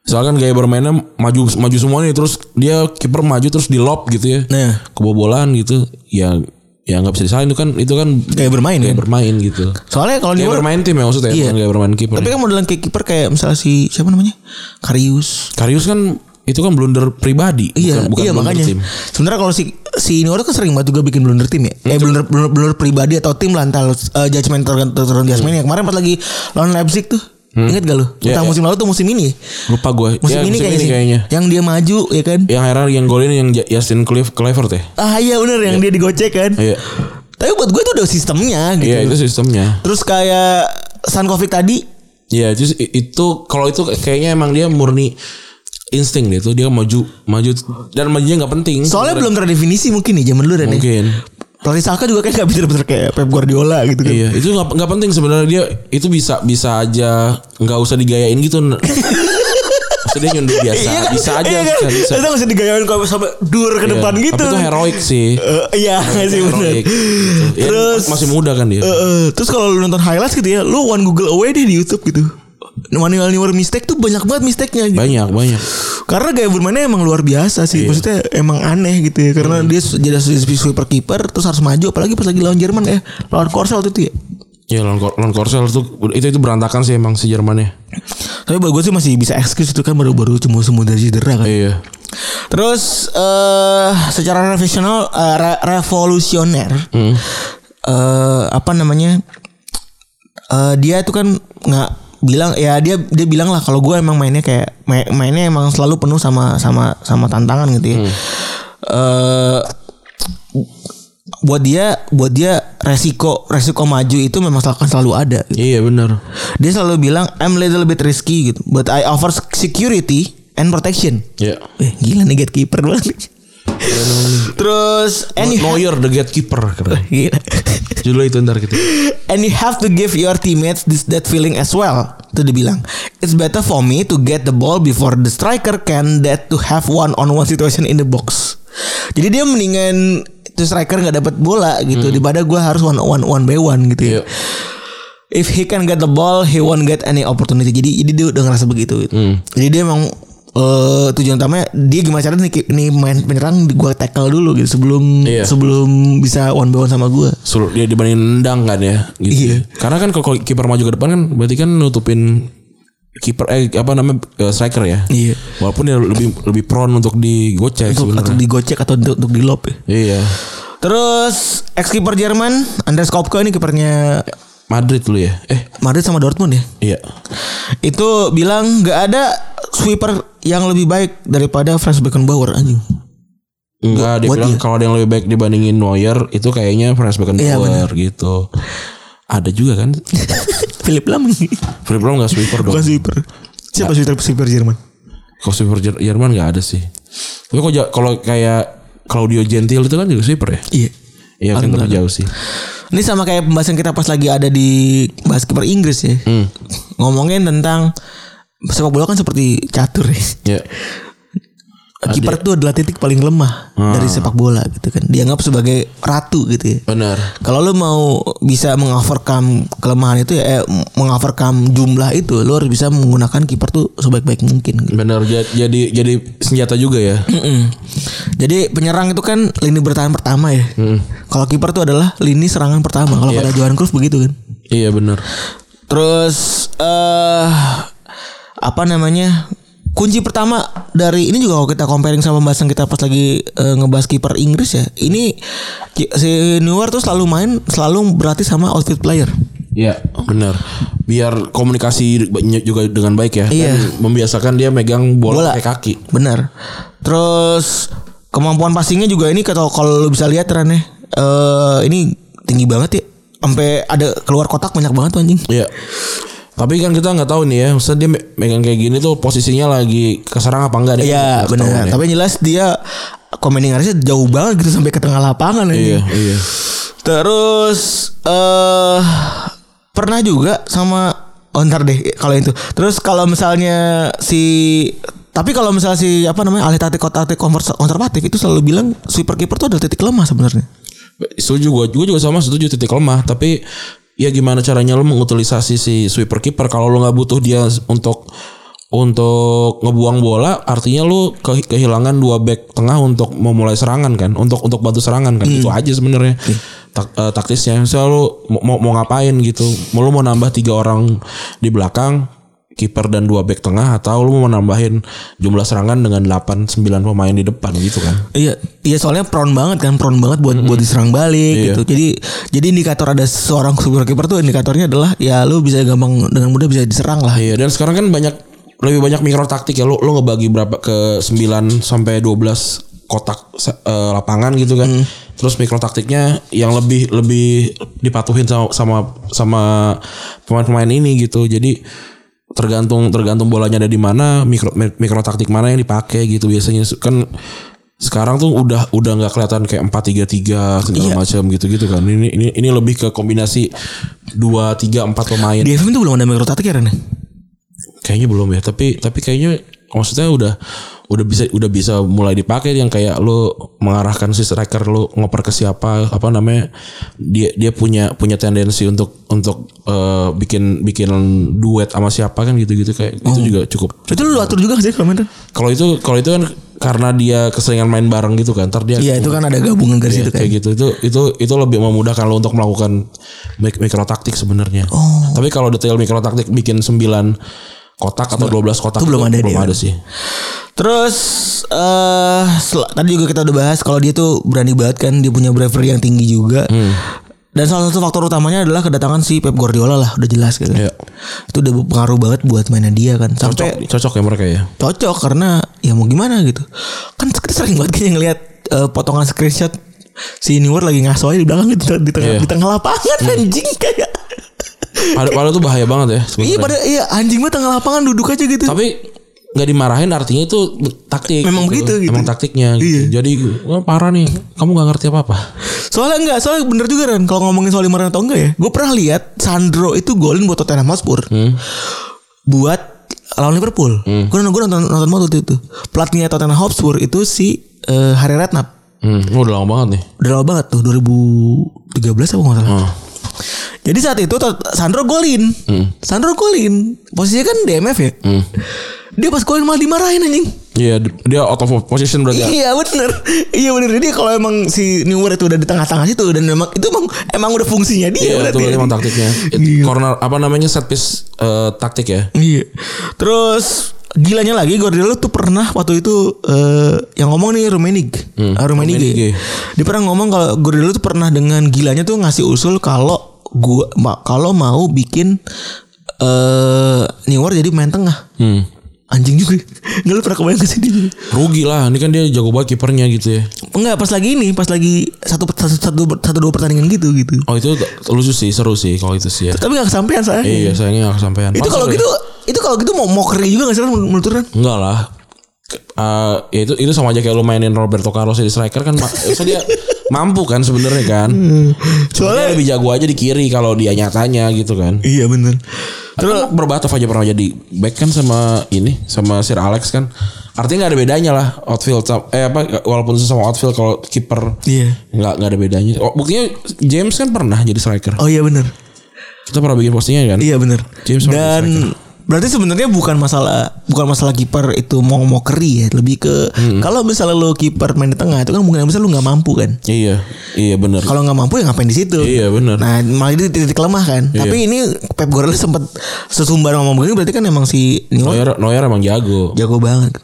B: misalkan gaya bermainnya maju maju semuanya terus dia kiper maju terus di lob gitu ya
C: Nah.
B: kebobolan gitu ya ya nggak bisa disalahin itu kan itu kan
C: Gaya bermain
B: gaya
C: kan.
B: bermain gitu
C: Soalnya kalau
B: gaya
C: Neuer
B: bermain tim ya maksudnya
C: Iya.
B: bukan gaya bermain ya. kiper
C: tapi kan modelan kayak kiper kayak misalnya si siapa namanya? Karius.
B: Karius kan itu kan blunder pribadi,
C: Iya,
B: bukan, bukan
C: iya
B: blunder
C: makanya.
B: tim.
C: Sebenarnya kalau si si Nino kan sering banget juga bikin blunder tim ya. Eh blunder, blunder blunder pribadi atau tim lah entar eh, judgement tergantung tergantung judgement ya. Kemarin pas lagi lawan Leipzig tuh. Ingat gak lu?
B: Iya,
C: Tentang
B: iya.
C: musim lalu tuh musim ini. ya?
B: Lupa gue.
C: Musim ini kayaknya, sih. Yang dia maju ya kan.
B: Yang akhirnya yang golin yang Ja- Justin Cliff Clifford ya.
C: Ah iya bener yang dia digocek kan.
B: Iya.
C: Tapi buat gue itu udah sistemnya gitu.
B: Iya itu sistemnya.
C: Terus kayak Sankovic tadi
B: Iya itu itu kalau itu kayaknya emang dia murni insting deh itu dia maju maju dan majunya nggak penting.
C: soalnya belum terdefinisi mungkin nih zaman dulu Ren. ya.
B: Mungkin.
C: Pelatih Saka juga kan gak bener-bener kayak Pep Guardiola gitu kan.
B: Iya itu nggak nggak penting sebenarnya dia itu bisa bisa aja nggak usah digayain gitu. Maksudnya dia nyundul biasa
C: Iya kan?
B: Eh, bisa aja
C: Iya kan?
B: bisa, bisa.
C: Itu masih digayain kalau sampai dur ke depan
B: Iya.
C: gitu.
B: Tapi itu heroik sih.
C: Eh, iya sih benar.
B: Heroik, gitu. Ya,
C: Terus
B: masih muda kan dia.
C: eh, eh, terus kalau lu nonton highlights gitu ya, lu one Google away deh di YouTube gitu. Manual newer mistake tuh banyak banget mistake-nya gitu.
B: banyak Iya. banyak.
C: Karena gaya bermainnya emang luar biasa sih. Maksudnya emang aneh gitu ya. Karena
B: Hmm.
C: dia su- jadi jadi sweeper kiper terus harus maju apalagi pas lagi lawan Jerman ya. Lawan Korsel waktu itu ya.
B: Ya lawan Kor- lawan Korsel itu itu itu berantakan sih emang si Jermannya.
C: Tapi buat gue sih masih bisa excuse itu kan baru-baru cuma semua dari cedera kan.
B: Iya.
C: Terus eh secara profesional eh, re- revolusioner. Eh, apa namanya? Eh, dia itu kan nggak bilang ya dia dia bilang lah kalau gue emang mainnya kayak ma- mainnya emang selalu penuh sama sama sama tantangan gitu ya. Eh, buat dia buat dia resiko resiko maju itu memang sel- akan selalu ada. gitu.
B: Iya benar.
C: Dia selalu bilang I'm little bit risky gitu, but I offer security and protection.
B: Iya.
C: Eh, gila nih gatekeeper banget. nih. Terus and you have,
B: Neuer the gatekeeper keren.
C: gila.
B: Judulnya itu ntar gitu.
C: and you have to give your teammates this that feeling as well. Itu dibilang. It's better for me to get the ball before the striker can that to have one on one situation in the box. Jadi dia mendingan itu striker nggak dapat bola gitu daripada gue harus one one one by one gitu ya.
B: Hmm. Iya.
C: If he can get the ball, he won't get any opportunity. Jadi jadi dia udah ngerasa begitu. Gitu.
B: Hmm.
C: Jadi dia emang eh, tujuan utamanya dia gimana caranya nih, ki- nih main penyerang gua tackle dulu gitu sebelum
B: Iya.
C: sebelum bisa one by one sama gua.
B: Suruh dia dibanding nendang kan ya. Gitu.
C: Iya.
B: Karena kan kalau kiper maju ke depan kan berarti kan nutupin kiper eh apa namanya eh, striker ya.
C: Iya.
B: Walaupun dia lebih lebih prone untuk digocek
C: Untuk, atau
B: sebenarnya.
C: digocek atau untuk, untuk dilop ya.
B: Iya.
C: Terus ex kiper Jerman Andreas Kopke ini kipernya
B: Madrid lu ya? Eh,
C: Madrid sama Dortmund ya.
B: iya.
C: Itu bilang nggak ada sweeper yang lebih baik daripada Franz Beckenbauer anjing.
B: Enggak, dia
C: Iya, buat
B: bilang
C: dia. Iya,
B: kalau ada yang lebih baik dibandingin Neuer itu kayaknya Franz Beckenbauer gitu. Ada juga kan?
C: Philip Lahm
B: Philip Lahm enggak sweeper dong.
C: bukan sweeper. Siapa sweeper sweeper Jerman?
B: Kalau sweeper Jer- Jerman enggak ada sih. Tapi kalau ja- kalau kayak Claudio Gentil itu kan juga sweeper ya?
C: Iya.
B: Iya kan tapi jauh sih.
C: Ini sama kayak pembahasan kita pas lagi ada di bahas kiper Inggris ya. Ngomongin tentang sepak bola kan seperti catur ya.
B: Ya.
C: Kiper itu adalah titik paling lemah dari sepak bola gitu kan. Dianggap sebagai ratu gitu ya.
B: Benar.
C: Kalau lu mau bisa mengovercome kelemahan itu ya eh, mengovercome jumlah itu, lu harus bisa menggunakan kiper tuh sebaik-baik mungkin. gitu.
B: Benar ja- jadi jadi senjata juga ya.
C: Mm-mm. Jadi penyerang itu kan lini bertahan pertama ya. Kalau kiper tuh adalah lini serangan pertama. Kalau pada Johan Cruyff begitu kan.
B: iya benar.
C: Terus eh apa namanya? Kunci pertama dari ini juga kalau kita comparing sama pembahasan kita pas lagi eh, ngebahas kiper Inggris ya. Ini ki- si Neuer tuh selalu main selalu berarti sama outfit player.
B: Iya, benar. Biar komunikasi juga dengan baik ya.
C: Iya.
B: Dan membiasakan dia megang bola,
C: Bola.
B: pakai kaki.
C: Benar. Terus kemampuan passingnya juga ini kalau kalau lu bisa lihat Ran ya. Eh, ini tinggi banget ya. Sampai ada keluar kotak banyak banget tuh anjing.
B: Iya. Tapi kan kita nggak tahu nih ya, maksudnya dia me- megang kayak gini tuh posisinya lagi keserang apa enggak deh.
C: Iya, benar. Tapi yang jelas dia commanding range jauh banget gitu sampai ke tengah lapangan
B: iya,
C: anjing.
B: iya.
C: Terus eh pernah juga sama oh, ntar deh kalau itu. Terus kalau misalnya si tapi kalau misalnya si apa namanya ahli taktik taktik konvers- konservatif itu selalu bilang sweeper kiper tuh adalah titik lemah sebenarnya.
B: Setuju gue, gue juga sama setuju titik lemah, tapi ya gimana caranya lo mengutilisasi si sweeper kiper kalau lo nggak butuh dia untuk untuk ngebuang bola artinya lu ke- kehilangan dua back tengah untuk memulai serangan kan untuk untuk bantu serangan kan itu aja sebenarnya tak, eh, taktisnya misalnya lu mau- mau, mau ngapain gitu mau lu mau nambah tiga orang di belakang kiper dan dua back tengah atau lu mau nambahin jumlah serangan dengan 8 9 pemain di depan gitu kan.
C: Iya, iya soalnya prone banget kan, prone banget buat buat diserang balik
B: Iya.
C: gitu. Jadi jadi indikator ada seorang sweeper kiper tuh indikatornya adalah ya lu bisa gampang dengan mudah bisa diserang lah.
B: Iya, dan sekarang kan banyak lebih banyak mikro taktik ya. Lu lu ngebagi berapa ke 9 sampai 12 kotak se- eh, lapangan gitu kan. Terus mikro taktiknya yang lebih lebih dipatuhin sama sama sama pemain-pemain ini gitu. Jadi tergantung tergantung bolanya ada di mana, mikro mi- mikro taktik mana yang dipakai gitu biasanya kan sekarang tuh udah udah nggak kelihatan kayak 4-3-3 segala macam gitu-gitu kan. Ini ini ini lebih ke kombinasi 2 3 4 pemain
C: Di FM tuh belum ada mikro taktik ya Ren?
B: kayaknya belum ya tapi tapi kayaknya maksudnya udah udah bisa udah bisa mulai dipakai yang kayak lu mengarahkan si striker lu ngoper ke siapa apa namanya dia dia punya punya tendensi untuk untuk eh, bikin bikin duet sama siapa kan gitu-gitu kayak itu juga cukup
C: Itu lu atur juga sih kalau main Ren?
B: kalau itu kalau itu kan karena dia keseringan main bareng gitu kan ntar dia
C: Iya itu kan ada gabungan dari
B: Iya,
C: situ kan.
B: kayak gitu itu itu itu lebih memudahkan lo untuk melakukan mik- mikro taktik sebenarnya.
C: Oh.
B: Tapi kalau detail mikro taktik bikin 9 kotak atau 12 kotak
C: Itu belum ada
B: belum
C: dia.
B: ada sih.
C: Terus eh sel- tadi juga kita udah bahas kalau dia tuh berani banget kan dia punya bravery yang tinggi juga.
B: Hmm.
C: Dan salah satu faktor utamanya adalah kedatangan si Pep Guardiola lah udah jelas gitu.
B: Iya.
C: Itu udah pengaruh banget buat mainan dia kan.
B: Cocok
C: Sampai
B: cocok ya mereka ya.
C: cocok karena ya mau gimana gitu. Kan kita sering banget kayaknya ngeliat eh, potongan screenshot si Newer lagi ngaso aja di belakang gitu di tengah
B: Iya.
C: di tengah lapangan anjing kayak.
B: Pada padahal itu bahaya banget ya
C: Iya
B: sebenarnya.
C: pada iya anjing mah tengah lapangan duduk aja gitu.
B: Tapi nggak dimarahin artinya itu taktik.
C: Memang begitu gitu. Iya.
B: Memang taktiknya gitu. Jadi wah, parah nih. Kamu nggak ngerti apa-apa.
C: Soalnya enggak, soalnya bener juga kan kalau ngomongin soal lima atau enggak ya. Gue pernah lihat Sandro itu golin buat Tottenham Hotspur. Buat lawan Liverpool. Gue nonton, gua nonton nonton banget waktu itu. Pelatihnya Tottenham Hotspur itu si eh, Harry Redknapp.
B: Hmm, udah lama banget nih.
C: Udah lama banget tuh 2013 apa nggak salah. Jadi saat itu Tot- Sandro golin. Sandro golin. Posisinya kan DMF ya. Dia pas golin malah dimarahin anjing.
B: Iya, dia out of position berarti.
C: Iya bener Iya bener Jadi kalau emang si Newer itu udah di tengah-tengah situ Dan memang itu emang Emang udah
B: Iya,
C: fungsinya dia
B: itu
C: berarti. Iya.
B: berarti memang taktiknya.
C: Gila.
B: Corner apa namanya set piece eh, taktik ya.
C: Iya Terus Gilanya lagi Guardiola tuh pernah Waktu itu eh, Yang ngomong nih Ah, Rumenig
B: Hmm,
C: Rumenig
B: Rummenigge.
C: Dia pernah ngomong kalau Guardiola tuh pernah dengan gilanya tuh Ngasih usul kalau gua ma- kalau mau bikin eh Neymar jadi main tengah.
B: Hmm.
C: Anjing juga. Enggak lu pernah kebayang ke sini. juga?
B: Rugi lah, ini kan dia jago banget kipernya gitu ya.
C: Enggak, pas lagi ini, pas lagi satu satu satu, satu dua pertandingan gitu gitu.
B: Oh itu t- lucu sih, seru sih kalau itu sih ya.
C: Tapi gak kesampaian saya.
B: Iya sayangnya gak kesampaian.
C: itu kalau gitu itu kalau gitu mau mockery juga gak sih Ran, menurut Ran?
B: Enggak lah. Ke- eh, ya itu itu sama aja kayak lu mainin Roberto Carlos jadi striker kan ma- so dia mampu kan sebenarnya kan. Dia
C: Hmm. Soalnya
B: lebih jago aja di kiri kalau dia nyatanya gitu kan.
C: iya bener.
B: Terus Berbatov aja pernah jadi back kan sama ini sama Sir Alex kan. Artinya nggak ada bedanya lah outfield sam- eh apa walaupun sama outfield kalau kiper
C: Iya.
B: nggak nggak ada bedanya. Oh, buktinya James kan pernah jadi striker.
C: Oh iya bener.
B: Kita pernah bikin postingan kan.
C: Iya bener.
B: James Harden
C: Dan berarti sebenarnya bukan masalah bukan masalah kiper itu mau mockery ya, lebih ke
B: Hmm.
C: kalau misalnya lo kiper main di tengah itu kan mungkin besar lo nggak mampu kan.
B: Iya, iya benar.
C: Kalau nggak mampu ya ngapain di situ?
B: Iya, bener. Iya.
C: Nah malah itu titik lemah kan. Tapi ini Pep Guardiola sempat sesumbar ngomong begini berarti kan emang si
B: Neuer
C: Newell
B: Neuer emang jago.
C: jago banget.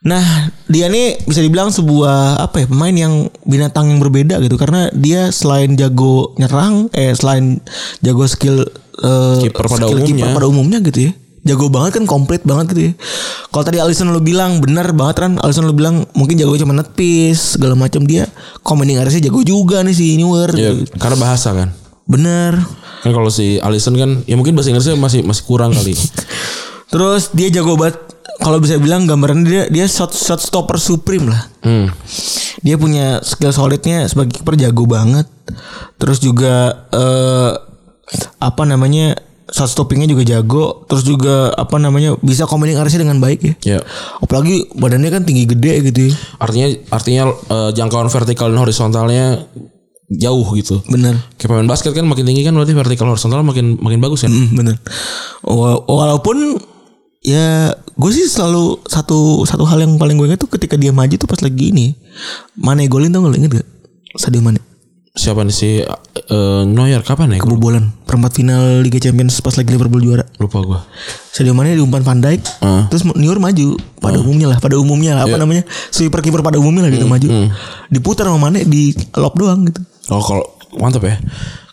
C: Nah dia ini bisa dibilang sebuah apa ya pemain yang binatang yang berbeda gitu karena dia selain jago nyerang eh selain jago skill eh,
B: Kiper pada
C: skill kiper
B: umumnya.
C: pada umumnya gitu ya. Jago banget kan komplit banget gitu ya. Kalau tadi Alisson lo bilang benar banget kan Alisson lo bilang mungkin jago cuma netpis segala macam dia commanding area jago juga nih si Neuer.
B: Iya,
C: gitu.
B: karena bahasa kan.
C: Bener.
B: Kan kalau si Alisson kan ya mungkin bahasa Inggrisnya masih masih kurang kali.
C: Terus dia jago banget kalau bisa bilang gambaran dia dia shot shot stopper supreme lah.
B: Hmm.
C: dia punya skill solidnya sebagai kiper jago banget terus juga eh, apa namanya shot stoppingnya juga jago terus juga apa namanya bisa combining area dengan baik ya
B: Ya.
C: apalagi badannya kan tinggi gede gitu ya.
B: Artinya artinya eh, jangkauan vertikal dan horizontalnya jauh gitu.
C: bener
B: Kayak pemain basket kan makin tinggi kan berarti vertikal horizontal makin makin bagus kan.
C: Mm, bener Wa- walaupun ya gue sih selalu satu satu hal yang paling gue ingat tuh ketika dia maju tuh pas lagi ini Mane golin tau gak lo inget gak Sadio Mane
B: Siapa nih si eh, Neuer kapan ya? Gua
C: kebobolan perempat final Liga Champions pas lagi Liverpool juara
B: Lupa gua.
C: Sadio Mane diumpan Van Dijk,
B: Heeh.
C: terus Neuer maju pada umumnya lah, pada umumnya lah, apa namanya? Sweeper kiper pada umumnya lah gitu maju. Diputar sama Mane di lob doang gitu.
B: Oh kalau mantap ya.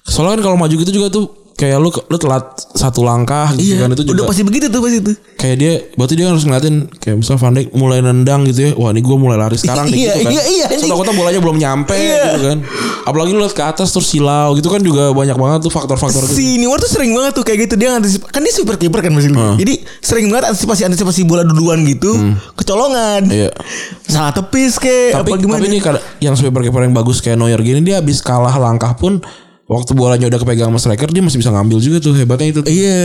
B: Soalnya kan kalau maju gitu juga tuh kayak lu lu telat satu langkah gitu kan itu juga
C: Iya, Udah pasti begitu tuh pasti itu.
B: kayak dia berarti dia harus ngeliatin kayak misalnya Van Dijk mulai nendang gitu ya wah ini gue mulai lari sekarang nih
C: Iya,
B: gitu kan
C: iya, iya, anjing.
B: takutnya bolanya belum nyampe gitu kan apalagi lu liat ke atas terus silau gitu kan juga banyak banget tuh faktor-faktor gitu.
C: Si Neuer tuh sering banget tuh kayak gitu dia antisipasi kan dia super kiper kan masih.
B: Hmm.
C: Jadi sering banget antisipasi antisipasi bola duluan gitu, kecolongan.
B: Iya.
C: Salah tepis kayak
B: tapi
C: apa gimana.
B: tapi ini kada- yang sebagai kiper yang bagus kayak Neuer gini dia habis kalah langkah pun waktu bolanya udah kepegang sama striker dia masih bisa ngambil juga tuh hebatnya itu
C: Iya.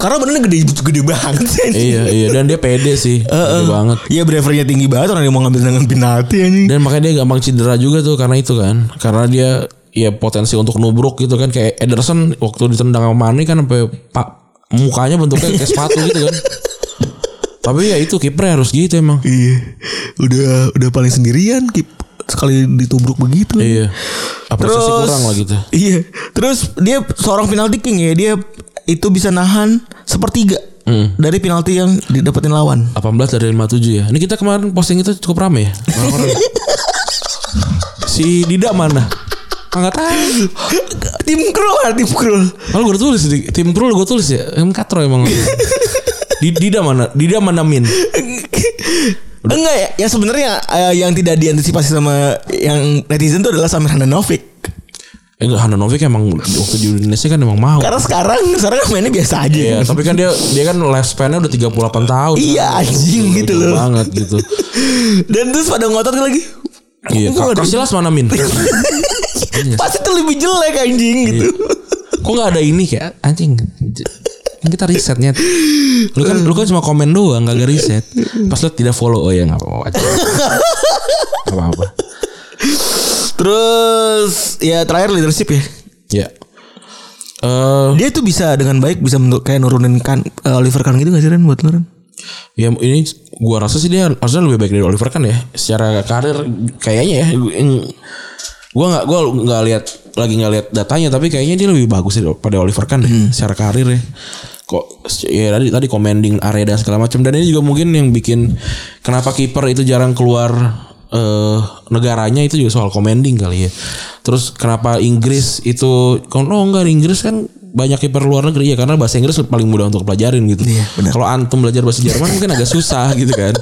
C: Karena benernya gede gede banget sih. anjing.
B: iya iya dan dia pede sih pede banget
C: Iya bravery tinggi banget orang dia mau ngambil dengan penalti anjing.
B: dan makanya dia gampang cedera juga tuh karena itu kan karena dia ya potensi untuk nubruk gitu kan kayak Ederson waktu ditendang sama Mane kan sampai pak mukanya bentuknya kayak sepatu gitu kan tapi ya itu kiper harus gitu emang
C: Iya. Udah udah paling sendirian kip sekali ditubruk begitu.
B: iya apresiasi
C: Terus
B: kurang lah gitu
C: Iya. Terus dia seorang penalti king ya. Dia itu bisa nahan sepertiga
B: Hmm.
C: dari penalti yang didapetin lawan.
B: 18 dari 57 ya ini kita kemarin posting itu cukup rame ya Orang-orang. si Dida mana Enggak tahu.
C: tim Krul lah, tim Krul.
B: Kalau gue tulis di tim pro gue tulis ya. Em katro emang. Di- Dida mana? Dida mana min?
C: Enggak ya, yang sebenarnya eh, yang tidak diantisipasi sama yang netizen itu adalah Samir Handanovic.
B: Eh, Enggak, Handanovic emang waktu di Indonesia kan emang mau.
C: Karena sekarang sekarang kan mainnya biasa aja.
B: Iya, tapi kan dia dia kan lifespan-nya udah 38 tahun.
C: Iya, anjing
B: Jauh
C: gitu loh.
B: Banget gitu.
C: Dan terus pada ngotot lagi.
B: Iya,
C: Kok nggak ada-
B: Kak jelas mana Min?
C: Pasti itu lebih jelek anjing gitu.
B: Kok nggak ada ini kayak anjing. Kan kita risetnya. Lu kan lu kan cuma komen doang, nggak ada riset. Pas lu tidak follow, oh ya nggak apa-apa. aja. Nggak apa-apa.
C: Terus ya terakhir leadership ya.
B: Ya. Eh,
C: Dia tuh bisa dengan baik bisa menurut kayak nurunin kan eh, Oliver Kahn gitu gak sih Ren buat lu Ren?
B: Ya ini gua rasa sih dia harusnya lebih baik dari Oliver kan ya. Secara karir kayaknya ya. Gue gua nggak gua nggak lihat lagi nggak lihat datanya tapi kayaknya dia lebih bagus daripada Oliver kan deh
C: Hmm.
B: secara karir ya. Kok ya tadi tadi commanding area dan segala macam dan ini juga mungkin yang bikin kenapa kiper itu jarang keluar eh negaranya itu juga soal commanding kali ya. Terus kenapa Inggris itu kalau oh, enggak Inggris kan banyak kiper luar negeri ya karena bahasa Inggris paling mudah untuk pelajarin gitu.
C: Iya, benar.
B: Kalau antum belajar bahasa Jerman mungkin agak susah gitu kan.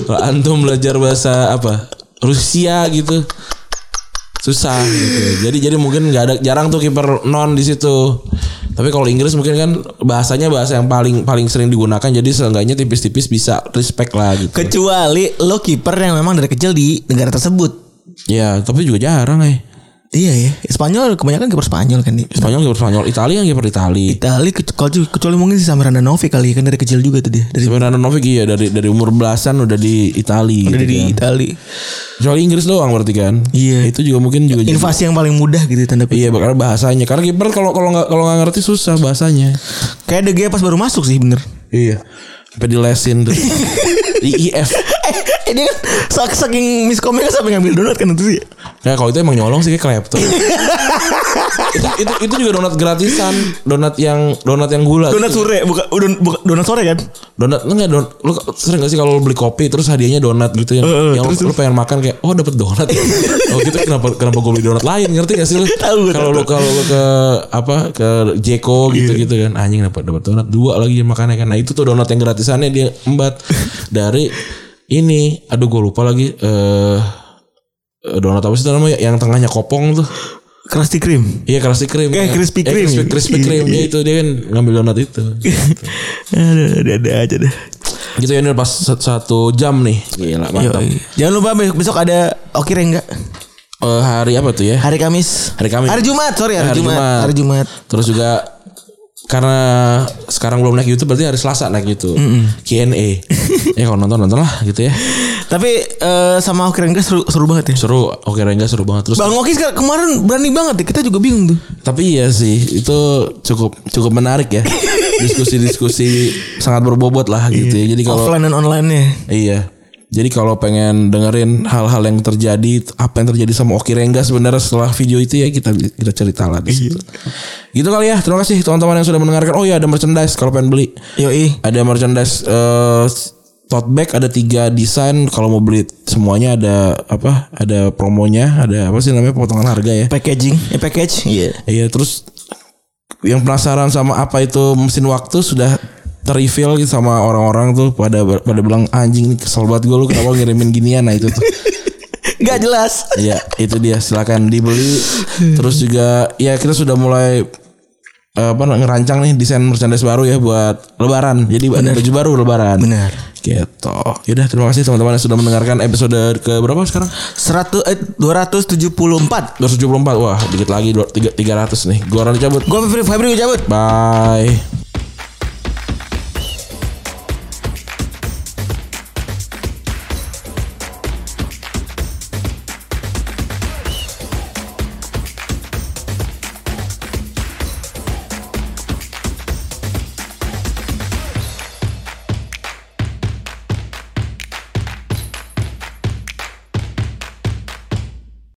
B: Kalau antum belajar bahasa apa Rusia gitu susah gitu. Jadi jadi mungkin nggak ada jarang tuh kiper non di situ. Tapi kalau Inggris mungkin kan bahasanya bahasa yang paling paling sering digunakan jadi seenggaknya tipis-tipis bisa respect lah gitu.
C: Kecuali lo kiper yang memang dari kecil di negara tersebut.
B: ya, tapi juga jarang eh.
C: Iya ya. Spanyol kebanyakan kiper Spanyol kan di.
B: Spanyol kiper Spanyol, Italia yang kiper Itali.
C: Itali ke- kalau kecuali mungkin si Samir Handanovic kali ya, kan dari kecil juga tuh dia dari
B: Sebenarnya Novik iya dari dari umur belasan udah di Itali gitu
C: dari
B: kan.
C: Itali.
B: Kecuali Inggris doang berarti kan.
C: Iya.
B: Itu juga mungkin juga jadi-
C: Invasi yang paling mudah gitu tanda kutip.
B: Iya, karena bahasanya. Karena kiper kalau kalau nggak kalau nggak ngerti susah bahasanya.
C: Kayak De Gea pas baru masuk sih bener.
B: Iya. Sampai dilesin tuh. IIF.
C: eh dia kan sak- saking miskomnya kan sampai ngambil donat kan itu sih.
B: Ya kalau itu emang nyolong sih kayak klepto. itu, itu itu juga donat gratisan, donat yang donat yang gula.
C: Donat sore bukan oh, don- bukan- donat sore kan?
B: Donat lu enggak don lu sering gak sih kalau lu beli kopi terus hadiahnya donat gitu yang,
C: Heeh,
B: yang
C: terus,
B: lu, lu pengen makan kayak oh dapat donat. ya. oh gitu kenapa kenapa gue beli donat lain ngerti gak sih lu?
C: Tahu, Iya.
B: Kalau lu kalau lu ke apa ke Jeko gitu-gitu kan anjing dapat dapat donat dua lagi yang makannya kan. Nah itu tuh donat yang gratisannya dia embat dari ini aduh gue lupa lagi eh eh, donat apa sih itu namanya yang tengahnya kopong tuh.
C: Krusty Kreme.
B: Iya Krusty Kreme.
C: Eh, Krispy Kreme. Iya.
B: Krispy, Krispy Kreme. Dia itu dia kan ngambil donat itu.
C: Aduh, ada ada aja dah.
B: gitu ya ini pas sat- satu jam nih. Gila mantap.
C: Yoi. Jangan lupa besok, besok ada Okir enggak?
B: Eh, hari apa tuh ya?
C: Hari Kamis.
B: Hari Kamis.
C: Hari Jumat, sorry hari,
B: Hari
C: Jumat.
B: Jumat.
C: Hari Jumat.
B: Terus juga karena sekarang belum naik YouTube berarti hari Selasa naik YouTube. Q&A. ya kalau nonton nonton lah gitu ya.
C: Tapi eh, sama Okir enggak seru, seru banget ya.
B: Seru. Oke Rengga seru banget terus.
C: Bang Oki sekarang- kemarin berani banget ya. Kita juga bingung tuh.
B: Tapi iya sih itu cukup cukup menarik ya. Diskusi-diskusi sangat berbobot lah gitu ya. Jadi kalau
C: Offline dan online-nya.
B: Iya. Jadi kalau pengen dengerin hal-hal yang terjadi, apa yang terjadi sama Oki Rengga sebenarnya setelah video itu ya kita kita cerita lah di situ. Gitu kali ya. Terima kasih teman-teman yang sudah mendengarkan. Oh iya ada merchandise kalau pengen beli.
C: Yoi.
B: Ada merchandise eh, tote bag ada tiga desain kalau mau beli semuanya ada apa? Ada promonya, ada apa sih namanya potongan harga ya.
C: Packaging, eh package. Iya.
B: Iya terus yang penasaran sama apa itu mesin waktu sudah terreveal gitu sama orang-orang tuh pada pada bilang anjing nih kesel banget gue lu kenapa ngirimin ginian nah itu tuh.
C: Gak jelas.
B: Iya itu dia silakan dibeli terus juga ya kita sudah mulai eh, apa ngerancang nih desain merchandise baru ya buat lebaran jadi ada baju baru lebaran
C: Benar.
B: gitu yaudah terima kasih teman-teman yang sudah mendengarkan episode ke berapa sekarang
C: 100 eh,
B: 274
C: 274.
B: wah dikit lagi 300 nih gua orang cabut
C: Gue Febri Febri gue cabut.
B: bye